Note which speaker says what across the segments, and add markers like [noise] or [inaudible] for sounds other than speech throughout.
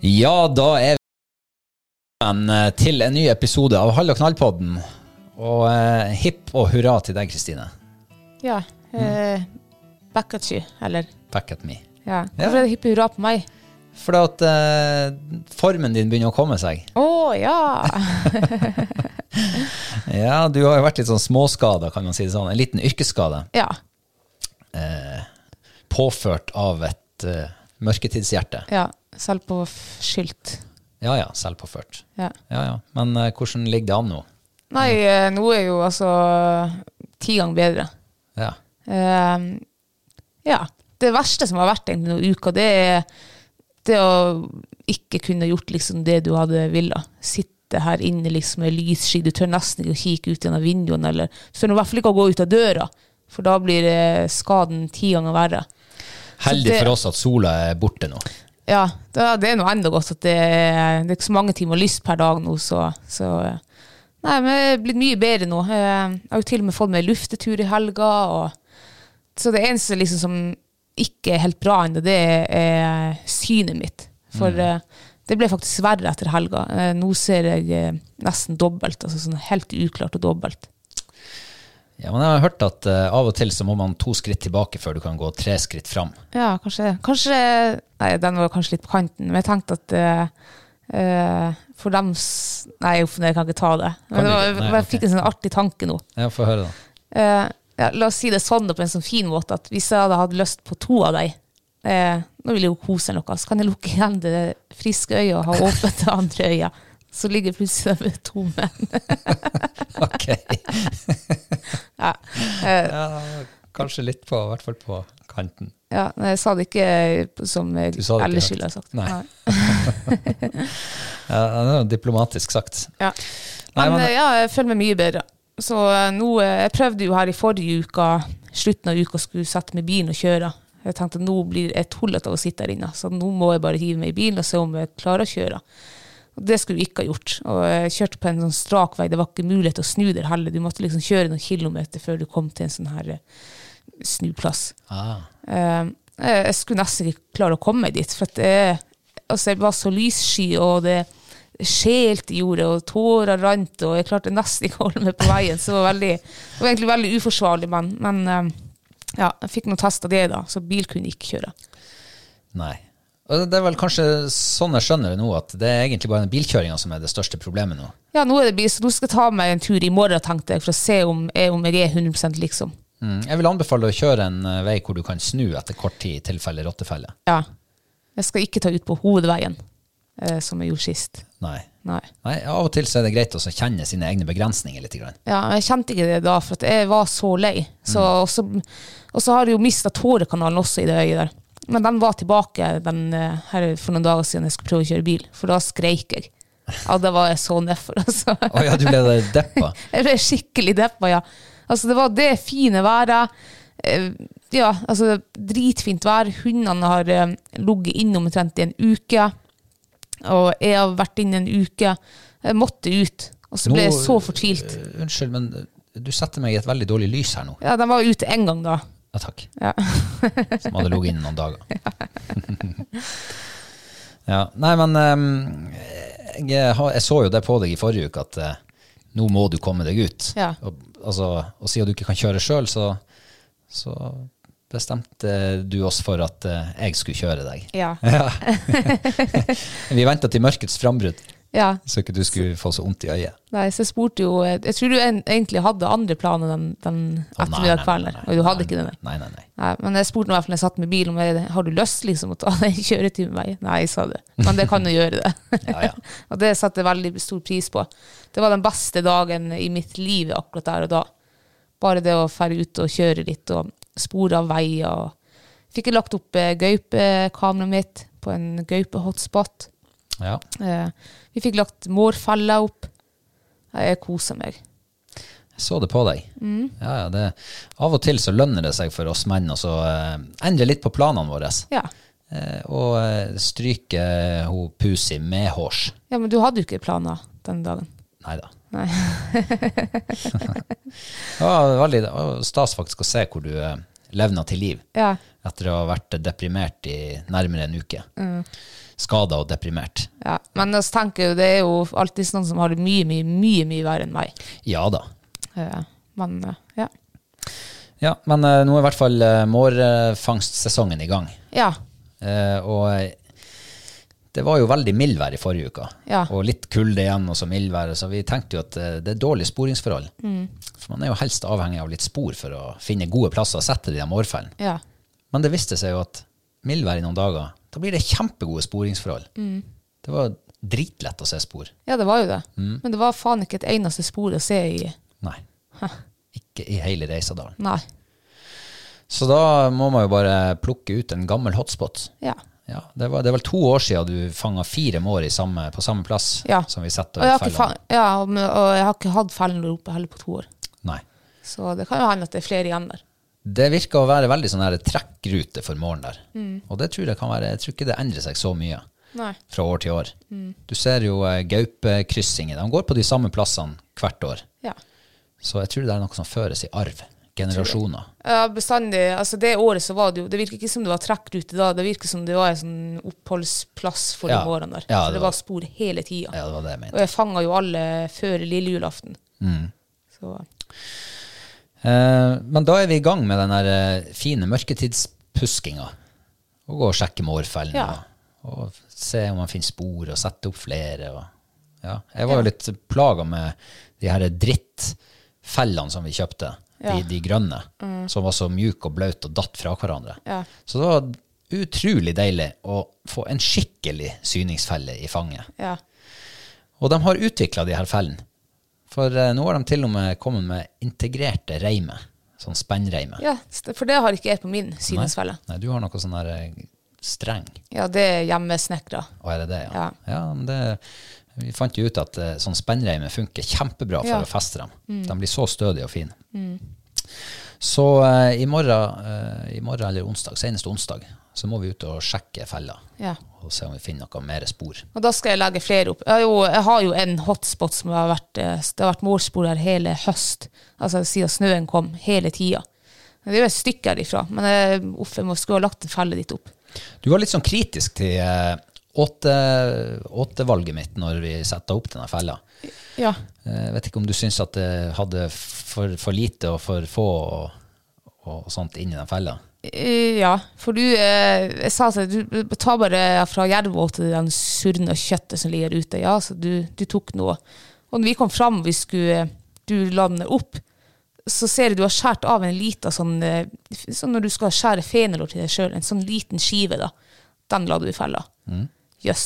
Speaker 1: Ja, da er vi velkommen eh, til en ny episode av Hall og knall-podden. Og eh, hipp og hurra til deg, Kristine.
Speaker 2: Ja. Eh, back at you, eller?
Speaker 1: Back at me.
Speaker 2: Ja. Hvorfor er det hippie hurra på meg?
Speaker 1: Fordi at eh, formen din begynner å komme seg.
Speaker 2: Å ja!
Speaker 1: Ja, du har jo vært litt sånn småskada, kan man si det sånn. En liten yrkesskade
Speaker 2: [laughs] ja.
Speaker 1: påført av et eh, mørketidshjerte.
Speaker 2: ja. Selv på f- skylt.
Speaker 1: Ja ja, selvpåført.
Speaker 2: Ja.
Speaker 1: Ja ja. Men eh, hvordan ligger det an nå?
Speaker 2: Nei, eh, nå er jo altså ti ganger bedre.
Speaker 1: Ja.
Speaker 2: Eh, ja. Det verste som har vært egentlig noen uker, det er det å ikke kunne gjort liksom det du hadde villa. Sitte her inne liksom med lyssky, du tør nesten ikke å kikke ut gjennom vinduene, eller du tør i hvert fall ikke å gå ut av døra, for da blir eh, skaden ti ganger verre.
Speaker 1: Heldig
Speaker 2: det-
Speaker 1: for oss at sola er borte nå.
Speaker 2: Ja, da, det er noe enda godt at det, er- det er ikke så mange timer lyst per dag nå, så, så eh, Nei, men det er blitt mye bedre nå. Eh, Jeg har jo til og med fått meg luftetur i helga. Og, så det eneste liksom som ikke er helt bra ennå, det er, er synet mitt. For eh, det ble faktisk verre etter helga. Eh, Nå ser jeg eh, nesten dobbelt, altså sånn helt uklart og dobbelt.
Speaker 1: Ja, men jeg har hørt at eh, av og til så må man to skritt tilbake før du kan gå tre skritt fram.
Speaker 2: Ja, kanskje det. Kanskje Nei, den var kanskje litt på kanten, men jeg tenkte at eh, eh, for dem s- Nei, uff, nei, jeg kan ikke ta det.
Speaker 1: Kan
Speaker 2: Men det
Speaker 1: du
Speaker 2: var,
Speaker 1: ikke? Nei,
Speaker 2: jeg
Speaker 1: ok.
Speaker 2: fikk en sånn artig tanke nå.
Speaker 1: Ja, få høre, da.
Speaker 2: Eh, ja, la oss si det sånn da, på en sånn fin måte at hvis jeg hadde hatt lyst på to av deg eh, Nå vil jeg jo kose noe, så kan jeg lukke igjen det friske øyet og ha åpent det andre øyet. Så ligger jeg plutselig der med to menn.
Speaker 1: Ok.
Speaker 2: Ja. Eh,
Speaker 1: Ja, kanskje litt på, i hvert fall på kanten.
Speaker 2: ja, nei, jeg sa det ikke eh, som jeg
Speaker 1: Du sa det ikke
Speaker 2: ellers
Speaker 1: høyt.
Speaker 2: skulle ha sagt.
Speaker 1: Nei. Ja, det er jo diplomatisk sagt.
Speaker 2: Ja.
Speaker 1: Nei,
Speaker 2: Men,
Speaker 1: men-
Speaker 2: eh, ja, jeg føler meg mye bedre. Så eh, nå, eh, jeg prøvde jo her i forrige uka, slutten av uka, skulle sette meg i bilen og kjøre. Jeg tenkte nå blir jeg tullete av å sitte her inne, så nå må jeg bare hive meg i bilen og se om jeg klarer å kjøre. Og det skulle jeg ikke ha gjort. Og jeg kjørte på en sånn strak vei, det var ikke mulighet til å snu der heller. Du måtte liksom kjøre noen kilometer før du kom til en sånn her eh, snuplass.
Speaker 1: Ah,
Speaker 2: Eh, jeg jeg skulle nesten ikke klare å komme meg dit, for at jeg, altså jeg var så lyssky, og det skjelte i jordet, og tårer rant, og jeg klarte nesten ikke å holde meg på veien. Så det var, veldig, det var egentlig veldig uforsvarlig, men, men eh, ja, jeg fikk noen test av det, da, så bil kunne ikke kjøre.
Speaker 1: nei. Og det er vel kanskje sånn jeg skjønner det nå, at det er egentlig bare den bilkjøringa som er det største problemet nå.
Speaker 2: Ja, nå er det bil, så nå skal jeg ta meg en tur i morgen, tenkte jeg, for å se om jeg, om jeg er 100 liksom.
Speaker 1: Mm. Jeg vil anbefale å kjøre en eh, vei hvor du kan snu etter kort tid, i tilfelle rottefelle.
Speaker 2: Ja. Jeg skal ikke ta ut på hovedveien. eh, som jeg gjorde sist.
Speaker 1: Nei.
Speaker 2: Nei.
Speaker 1: Nei, Av og til så er det greit også å kjenne sine egne begrensninger litt. Grann.
Speaker 2: Ja, men jeg kjente ikke det da, for at jeg var så lei. Så,
Speaker 1: Mm.
Speaker 2: og, så, og så har jeg jo mista tårekanalen også i det øyet der. Men den var tilbake den, eh, her for noen dager siden jeg skulle prøve å kjøre bil, for da skreik jeg. Ja, da var jeg så nedfor, altså.
Speaker 1: [laughs] Å ja, du ble deppa.
Speaker 2: [laughs]
Speaker 1: [laughs]
Speaker 2: Jeg ble skikkelig deppa, ja. Altså, det var det fine været. eh, Ja, altså, dritfint vær. Hundene har eh, ligget inne omtrent i en uke. Og jeg har vært inne en uke. Jeg måtte ut. Og så ble jeg
Speaker 1: Nå-
Speaker 2: så fortvilt.
Speaker 1: Eh, Unnskyld, men du setter meg i et veldig dårlig lys her nå.
Speaker 2: Ja, de var ute én gang, da.
Speaker 1: Ja, takk.
Speaker 2: Ja.
Speaker 1: [laughs] Som hadde ligget inne noen
Speaker 2: [laughs]
Speaker 1: dager. [laughs] ja. Nei, men eh, jeg, har- jeg så jo det på deg i forrige uke, at eh, nå må du komme deg ut.
Speaker 2: Ja.
Speaker 1: Og, altså, og siden du ikke kan kjøre sjøl, så, så bestemte du oss for at eh, jeg skulle kjøre deg.
Speaker 2: Ja.
Speaker 1: Ja. Vi venta til mørkets frambrudd,
Speaker 2: [laughs] ja.
Speaker 1: så ikke du skulle få så vondt i øyet.
Speaker 2: Nei, så jeg spurte jo eh, Jeg jeg tror du en, egentlig hadde andre planer den, den
Speaker 1: Å, nei,
Speaker 2: ettermiddag
Speaker 1: nei,
Speaker 2: kvelden.
Speaker 1: nei,
Speaker 2: der,
Speaker 1: nei,
Speaker 2: Og du hadde
Speaker 1: nei,
Speaker 2: ikke det? nei.
Speaker 1: Nei, nei, nei.
Speaker 2: Nei, men jeg spurte meg i hvert fall når jeg satt med bil om jeg har du lyst liksom, å ta [laughs] den kjøreturen med meg. Nei, sa du. Men det kan jo gjøre det.
Speaker 1: [laughs] Ja, ja.
Speaker 2: [laughs] og det satte jeg veldig stor pris på. Det var den beste dagen i mitt liv akkurat der og da. Bare det å fære ut og kjøre litt og spore av veier. Og... Fikk jeg lagt opp eh, gaupekameraet mitt på en gaupehotspot.
Speaker 1: Ja.
Speaker 2: Eh, vi fikk lagt mårfeller opp. Nei, Jeg koser meg.
Speaker 1: Jeg så det på deg. Ja, ja, det, av og til så lønner det seg for oss menn å så, eh, endre litt på planene våre.
Speaker 2: Ja.
Speaker 1: Eh, og eh, stryke hun Pusi med hårs.
Speaker 2: ja, men du hadde jo ikke planer den dagen.
Speaker 1: Nei da.
Speaker 2: Nei.
Speaker 1: [laughs] Det var veldig det var stas faktisk å se hvor du eh, levna til liv
Speaker 2: Ja.
Speaker 1: etter å ha vært deprimert i nærmere en uke. Mm. Skada og deprimert.
Speaker 2: Ja, men jeg tenker jo, det er jo alltid noen som har det mye, mye, mye, mye verre enn meg.
Speaker 1: Ja da.
Speaker 2: Eh, Men eh, ja.
Speaker 1: Ja, men eh, nå er i hvert fall eh, mårfangstsesongen i gang.
Speaker 2: Ja,
Speaker 1: Eh, og eh, det var jo veldig mildvær i forrige uke.
Speaker 2: Ja.
Speaker 1: Og litt kulde igjen, og så mildvær. Så vi tenkte jo at eh, det er dårlig sporingsforhold. For man er jo helst avhengig av litt spor for å finne gode plasser å sette de der mårfellene.
Speaker 2: ja.
Speaker 1: Men det viste seg jo at mildvær i noen dager, da blir det kjempegode sporingsforhold. Det var dritlett å se spor.
Speaker 2: Ja, det var jo det.
Speaker 1: Mm.
Speaker 2: Men det var faen ikke et eneste spor å se i.
Speaker 1: Nei. Ikke i hele Reisadalen.
Speaker 2: Nei.
Speaker 1: Så da må man jo bare plukke ut en gammel hotspot.
Speaker 2: Ja.
Speaker 1: Ja, det, var, det er vel to år siden du fanga fire mår i samme, på samme plass
Speaker 2: Ja.
Speaker 1: som vi setter
Speaker 2: Og jeg, har ikke
Speaker 1: fellene.
Speaker 2: fa ja, og- og jeg har ikke hatt fellene oppe heller på to år.
Speaker 1: Nei.
Speaker 2: Så det kan jo hende at det er flere igjen der.
Speaker 1: Det virker å være veldig sånn her trekkrute for morgen der.
Speaker 2: Mm.
Speaker 1: Og det tror jeg kan være Jeg tror ikke det endrer seg så mye
Speaker 2: Nei.
Speaker 1: fra år til år.
Speaker 2: Mm.
Speaker 1: Du ser jo eh, gaupekryssinger. De går på de samme plassene hvert år.
Speaker 2: Ja.
Speaker 1: Så jeg tror det er noe som føres i arv. Generasjoner.
Speaker 2: Ja, bestandig. Altså, det året så var det jo Det virker ikke som det var trekkrute da. Det virker som det var en sånn oppholdsplass for
Speaker 1: Ja.
Speaker 2: de årene der.
Speaker 1: Ja,
Speaker 2: så
Speaker 1: det
Speaker 2: det
Speaker 1: var-
Speaker 2: var spor hele tida.
Speaker 1: Ja, det var det jeg Mm.
Speaker 2: Og
Speaker 1: mente.
Speaker 2: jeg fanga jo alle før lille julaften. Så
Speaker 1: Eh, men da er vi i gang med den her eh, fine mørketidspuskinga. Og gå og sjekke mårfellene.
Speaker 2: Ja.
Speaker 1: Og, og se om man finner spor, og sette opp flere. Og, ja. Jeg var jo litt plaga med de her drittfellene som vi kjøpte.
Speaker 2: Ja. Mm.
Speaker 1: De, de grønne. Som var så mjuke og blaute og datt fra hverandre.
Speaker 2: Ja.
Speaker 1: Så det var utrolig deilig å få en skikkelig syningsfelle i fanget.
Speaker 2: ja.
Speaker 1: Og de har utvikla de her fellene. For eh, nå har de til og med kommet med integrerte reimer. Sånn spennreimer.
Speaker 2: ja, st- for det har ikke jeg på min synesfelle.
Speaker 1: Nei, du har noe sånn der eh, streng.
Speaker 2: Ja, det er hjemmesnekra.
Speaker 1: Og er det det, ja?
Speaker 2: Ja.
Speaker 1: men det, vi fant jo ut at eh, sånn spennreimer funker kjempebra for
Speaker 2: Ja. Mm.
Speaker 1: å feste dem. De blir så stødige og fine. Så eh, i, morgen, eh, i morgen eller onsdag, senest onsdag, så må vi ut og sjekke fella.
Speaker 2: Ja.
Speaker 1: Og se om vi finner noe mer spor.
Speaker 2: Og da skal jeg legge flere opp. Jeg har jo, jeg har jo en hotspot som har vært eh, Det har vært målspor her hele høst. Altså siden snøen kom. Hele tida. Det er jo et stykke herifra. Men jeg, uff, jeg må skulle ha lagt en felle dit opp.
Speaker 1: Du var litt sånn kritisk til eh, åtte- åttevalget mitt når vi satte opp denne fella.
Speaker 2: Ja.
Speaker 1: Jeg vet ikke om du syns at det hadde for, for lite og for få og, og sånt inn i den fella.
Speaker 2: Eh, Ja, for du eh, Jeg sa til deg, du tar bare fra jerva til den surne kjøttet som ligger ute. Ja, så du, du tok noe. Og når vi kom fram, vi skulle eh, du lander opp, så ser du du har skåret av en liten sånn eh, f- Sånn når du skal skjære fenalår til deg sjøl, en sånn liten skive, da. Den la du i fella. Jøss.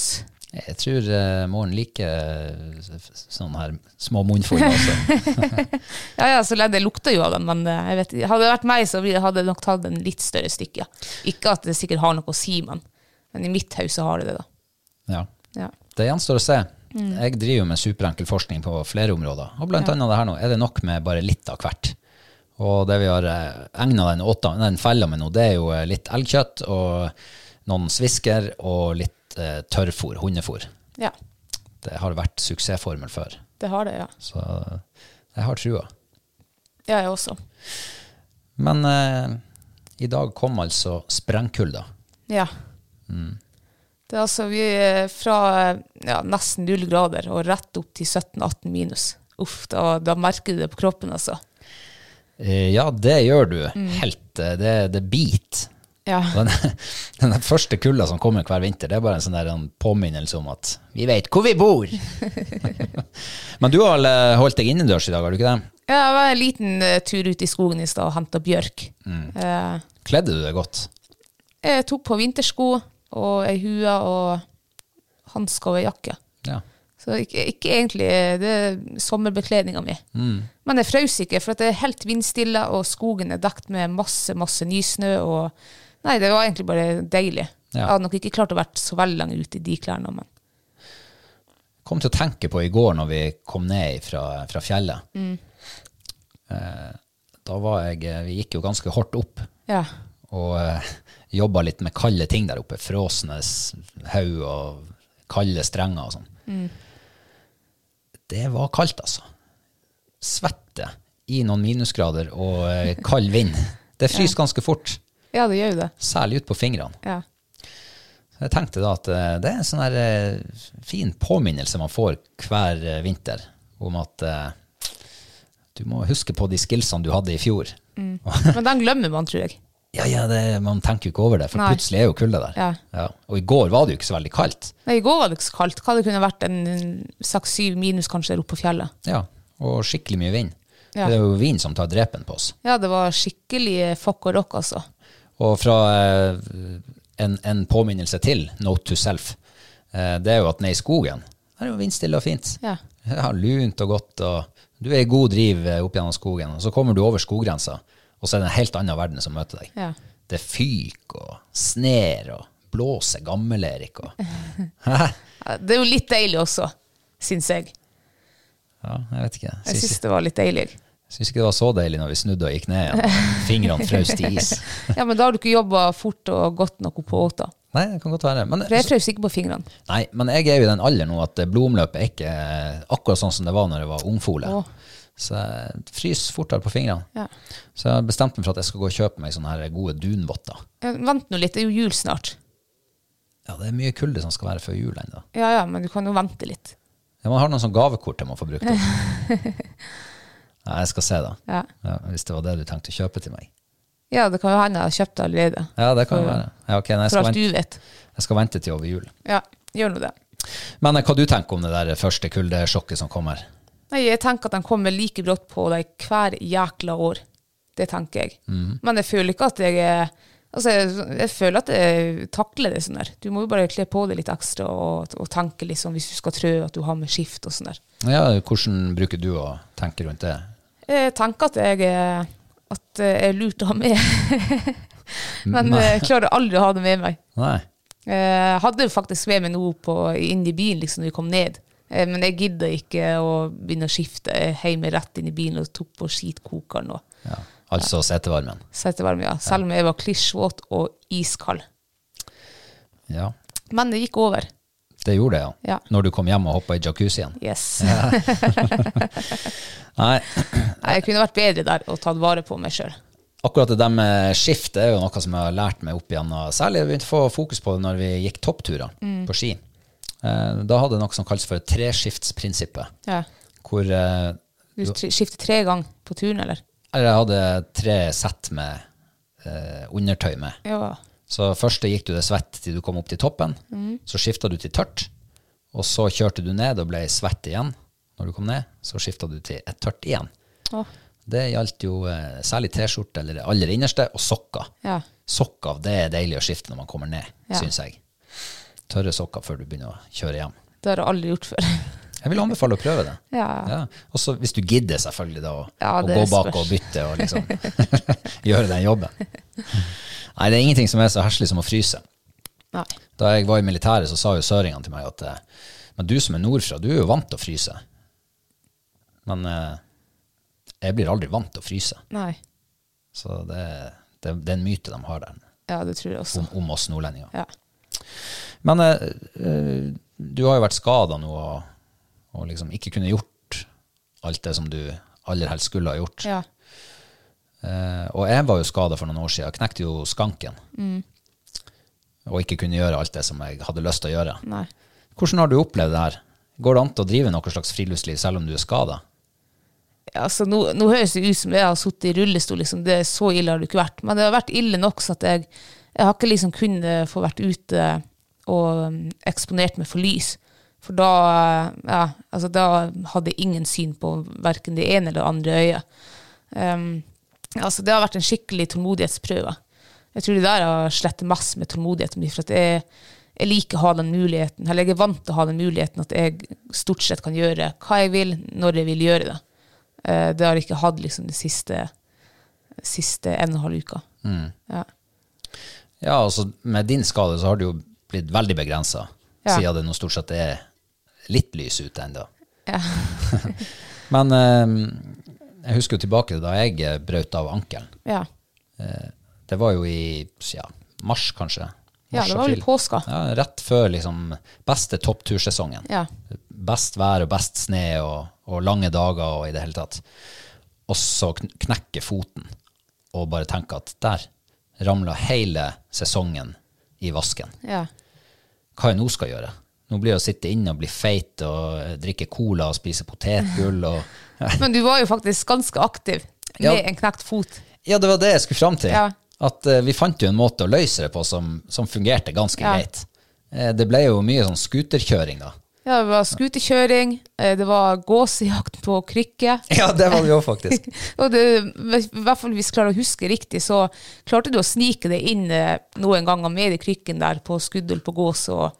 Speaker 1: Jeg tror eh, Morten liker eh, s- s- sånne her små munnfull altså. også.
Speaker 2: Ja, ja, så lenge det lukter jo av den, men eh, jeg vet, ikke. hadde det vært meg, så ville- hadde jeg nok tatt en litt større stykke. Ja. Ikke at det sikkert har noe å si, men, men i mitt hus så har det det, da.
Speaker 1: Ja.
Speaker 2: Ja.
Speaker 1: Det gjenstår å se. Jeg driver jo med superenkel forskning på flere områder. Og blant annet det her nå. Er det nok med bare litt av hvert? Og det vi har eh, egna den, åtta- den fella med nå, det er jo eh, litt elgkjøtt og noen svisker og litt eh, tørrfôr, hundefôr.
Speaker 2: ja,
Speaker 1: Det har vært suksessformel før.
Speaker 2: det har det, ja.
Speaker 1: Så jeg har trua.
Speaker 2: Ja, jeg også.
Speaker 1: Men eh, i dag kom altså sprengkulda.
Speaker 2: Ja. Det er altså vi er fra ja, nesten null grader og rett opp til 17-18 minus. Uff, da, da merker du det på kroppen, altså.
Speaker 1: Eh, Ja, det gjør du. Helt. eh, Det, det biter.
Speaker 2: Ja.
Speaker 1: Den, [laughs] den der første kulda som kommer hver vinter, det er bare en sånn der en påminnelse om at vi vet hvor vi bor! Men du har eh, holdt deg innendørs i dag, har du ikke det?
Speaker 2: Jeg var en liten eh, tur ut i skogen i stad og henta bjørk. Eh,
Speaker 1: Kledde du deg godt?
Speaker 2: jeg tok på vintersko og ei hue og hansker og ei jakke.
Speaker 1: Ja.
Speaker 2: Så ikke, ikke egentlig eh, det er sommerbekledninga mi.
Speaker 1: Mm.
Speaker 2: Men jeg frøs ikke, for at det er helt vindstille, og skogen er dekt med masse masse nysnø. og Nei, det var egentlig bare deilig.
Speaker 1: Ja.
Speaker 2: Jeg hadde nok ikke klart å vært så veldig lenge ute i de klærne. men
Speaker 1: Kom til å tenke på i går når vi kom ned fra, fra fjellet. Eh, Da var jeg eh, Vi gikk jo ganske hardt opp
Speaker 2: ja.
Speaker 1: og eh, jobba litt med kalde ting der oppe. Frosne s- haug og kalde strenger og sånn. Det var kaldt, altså. Svette i noen minusgrader og eh, kald vind. Det fryser ganske fort,
Speaker 2: ja, det gjør jo det.
Speaker 1: særlig ut på fingrene.
Speaker 2: Ja.
Speaker 1: Så Jeg tenkte da at eh, det er en sånn her eh, fin påminnelse man får hver eh, vinter om at eh, du må huske på de skillsene du hadde i fjor.
Speaker 2: Men den glemmer man, tror jeg.
Speaker 1: Ja, ja, det, man tenker jo ikke over det, for
Speaker 2: Nei.
Speaker 1: plutselig er jo kulda der.
Speaker 2: Ja.
Speaker 1: Og i går var det jo ikke så veldig kaldt.
Speaker 2: Nei, I går var det ikke så kaldt. Hva det kunne vært en seks-syv minus kanskje der oppe på fjellet.
Speaker 1: Ja, og skikkelig mye vind.
Speaker 2: Ja.
Speaker 1: Det er jo vind som tar drepen på oss.
Speaker 2: Ja, det var skikkelig fuck og rock, altså.
Speaker 1: Og fra eh, en, en påminnelse til, note to self, eh, det er jo at nede i skogen, der er jo vindstille og fint.
Speaker 2: Ja.
Speaker 1: Ja, lunt og godt, og du er i god driv eh, opp gjennom skogen, og så kommer du over skoggrensa, og så er det en helt annen verden som møter deg.
Speaker 2: Ja.
Speaker 1: Det fyker og sner og blåser gammel-Erik. og- Hæ?
Speaker 2: Det er jo litt deilig også, syns jeg.
Speaker 1: Ja, jeg vet ikke.
Speaker 2: Jeg
Speaker 1: Syns-
Speaker 2: syns det var litt deilig.
Speaker 1: Syns ikke det var så deilig når vi snudde og gikk ned igjen. og Fingrene frøs til
Speaker 2: [laughs]
Speaker 1: is.
Speaker 2: Ja, men da har du ikke jobba fort og godt nok på åta.
Speaker 1: Nei, det kan godt være. Men,
Speaker 2: For jeg frøs ikke på fingrene.
Speaker 1: nei, men jeg er jo i den alderen nå at blodomløpet er ikke akkurat sånn som det var når jeg var ungfole.
Speaker 2: Åh.
Speaker 1: Så jeg fryser fortere på fingrene.
Speaker 2: Ja.
Speaker 1: Så jeg har bestemt meg for at jeg skal gå og kjøpe meg sånne her gode dunvotter.
Speaker 2: Ja, Eh, Vent nå litt, det er jo jul snart.
Speaker 1: Ja, det er mye kulde som skal være før jul ennå.
Speaker 2: Ja ja, men du kan jo vente litt.
Speaker 1: Ja, man har noen sånne gavekort jeg må få brukt. opp.
Speaker 2: [laughs]
Speaker 1: Nei, jeg skal se, da.
Speaker 2: Ja,
Speaker 1: Ja, hvis det var det du tenkte å kjøpe til meg.
Speaker 2: ja det kan jo hende jeg har kjøpt det allerede.
Speaker 1: Ja, det kan
Speaker 2: For-
Speaker 1: jo være. Ja, ok, nei, jeg,
Speaker 2: For
Speaker 1: skal
Speaker 2: alt
Speaker 1: vente,
Speaker 2: du vet.
Speaker 1: jeg skal vente til over jul.
Speaker 2: Ja, gjør nå det.
Speaker 1: Men eh, hva du tenker om det der første kuldesjokket som kommer?
Speaker 2: Nei, jeg tenker at den kommer like brått på deg hver jækla år. Det tenker jeg.
Speaker 1: Mhm.
Speaker 2: Men jeg føler ikke at jeg er Altså, jeg, jeg føler at jeg takler det sånn der. Du må jo bare kle på deg litt ekstra og, og tenke liksom hvis du skal trø, at du har med skift og sånn der.
Speaker 1: Ja, hvordan bruker du å tenke rundt det?
Speaker 2: Jeg tenker at jeg er- at jeg er lurt å ha med. [laughs] Men jeg klarer aldri å ha det med meg.
Speaker 1: Nei.
Speaker 2: Jeg Eh, hadde jo faktisk med meg noe på, inn i bilen liksom, når vi kom ned. Eh, Men jeg gidda ikke å begynne å skifte. Jeg heiv meg rett inn i bilen og tok på skitkokeren og
Speaker 1: Ja. Altså setevarmen.
Speaker 2: satte varme. Ja. Selv om jeg var klissvåt og iskald.
Speaker 1: Ja,
Speaker 2: Men det gikk over.
Speaker 1: det gjorde det, ja.
Speaker 2: Ja.
Speaker 1: Når du kom hjem og hoppa i jacuzzien.
Speaker 2: Yes.
Speaker 1: Nei,
Speaker 2: Nei, [laughs] Jeg kunne vært bedre der og tatt vare på meg sjøl.
Speaker 1: akkurat det der med skift det er jo noe som jeg har lært meg opp igjen. og Særlig jeg begynte å få fokus på det når vi gikk toppturer på ski. Eh, Da hadde jeg noe som kalles for treskiftsprinsippet.
Speaker 2: Ja.
Speaker 1: Hvor eh,
Speaker 2: Du tri- skifter tre ganger på turen, eller?
Speaker 1: eller jeg hadde tre sett med eh, undertøy med.
Speaker 2: Ja.
Speaker 1: Så først gikk du det svett til du kom opp til toppen,
Speaker 2: Mm.
Speaker 1: så skifta du til tørt, og så kjørte du ned og ble svett igjen når du kom ned, så skifta du til et tørt igjen.
Speaker 2: Å,
Speaker 1: Det gjaldt jo eh, særlig T-skjorte eller det aller innerste, og sokker.
Speaker 2: ja.
Speaker 1: Sokker, det er deilig å skifte når man kommer ned,
Speaker 2: Ja.
Speaker 1: syns jeg. tørre sokker før du begynner å kjøre hjem.
Speaker 2: Det har jeg aldri gjort før.
Speaker 1: Jeg vil anbefale å prøve det.
Speaker 2: ja.
Speaker 1: Ja. Og så hvis du gidder selvfølgelig da å,
Speaker 2: Ja,
Speaker 1: å
Speaker 2: det
Speaker 1: gå bak
Speaker 2: spørs.
Speaker 1: og bytte og liksom [laughs] gjøre den jobben. Nei, det er ingenting som er så herselig som å fryse.
Speaker 2: Nei.
Speaker 1: Da jeg var i militæret, så sa jo søringene til meg at eh, men du som er nordfra, du er jo vant til å fryse. Men eh, jeg blir aldri vant til å fryse.
Speaker 2: Nei.
Speaker 1: Så det, det, det er en myte de har der
Speaker 2: Ja, det tror jeg også.
Speaker 1: om, om oss nordlendinger.
Speaker 2: Ja.
Speaker 1: Men eh, eh, du har jo vært skada nå og, og liksom ikke kunne gjort alt det som du aller helst skulle ha gjort.
Speaker 2: ja.
Speaker 1: Eh, og jeg var jo skada for noen år siden. Jeg knekte jo skanken. Og ikke kunne gjøre alt det som jeg hadde lyst til å gjøre.
Speaker 2: Nei.
Speaker 1: Hvordan har du opplevd det her? Går det an til å drive noe slags friluftsliv selv om du er skada?
Speaker 2: Ja, altså, nå, nå høres det ut som jeg har sittet i rullestol, liksom. det er så ille har det ikke vært. Men det har vært ille nok så at jeg, jeg har ikke liksom kunnet få vært ute eh, og um, eksponert meg for lys. For da, eh, ja, altså, da hadde jeg ingen syn på verken det ene eller det andre øyet. Um, altså, det har vært en skikkelig tålmodighetsprøve. Jeg tror det der har slettet masse med tålmodigheten min. For at jeg, jeg liker å ha den muligheten, eller jeg er vant til å ha den muligheten at jeg stort sett kan gjøre hva jeg vil, når jeg vil gjøre det. Eh, det har jeg ikke hatt liksom de siste, siste en og en halv uka. Ja.
Speaker 1: Ja, altså med din skade så har du jo blitt veldig begrensa,
Speaker 2: Ja.
Speaker 1: siden det nå stort sett er litt lys ute ennå.
Speaker 2: Ja.
Speaker 1: [laughs] Men eh, jeg husker jo tilbake til da jeg eh, brøt av ankelen.
Speaker 2: Ja.
Speaker 1: Det var jo i ja, mars, kanskje.
Speaker 2: ja,
Speaker 1: Mars,
Speaker 2: det var vel
Speaker 1: april.
Speaker 2: påska.
Speaker 1: Ja, rett før liksom beste topptursesongen.
Speaker 2: Ja.
Speaker 1: Best vær og best sne og, og lange dager og i det hele tatt. Og så kn- knekke foten og bare tenke at der ramla hele sesongen i vasken.
Speaker 2: Ja.
Speaker 1: Hva jeg nå skal gjøre? Nå blir det å sitte inne og bli feit og eh, drikke cola og spise potetgull
Speaker 2: [laughs]
Speaker 1: og
Speaker 2: Men du var jo faktisk ganske aktiv med
Speaker 1: Ja.
Speaker 2: en knekt fot.
Speaker 1: Ja, det var det jeg skulle fram til.
Speaker 2: Ja.
Speaker 1: At eh, vi fant jo en måte å løse det på som, som fungerte ganske
Speaker 2: Ja.
Speaker 1: greit. Eh, det ble jo mye sånn skuterkjøring, da.
Speaker 2: Ja, det var skuterkjøring, eh, det var gåsejakt på krykke. [laughs]
Speaker 1: Ja, [laughs] det var det jo faktisk.
Speaker 2: Og det, i hvert fall hvis jeg klarer å huske riktig, så klarte du å snike deg inn eh, noen ganger med i krykken der på skuddel på gås og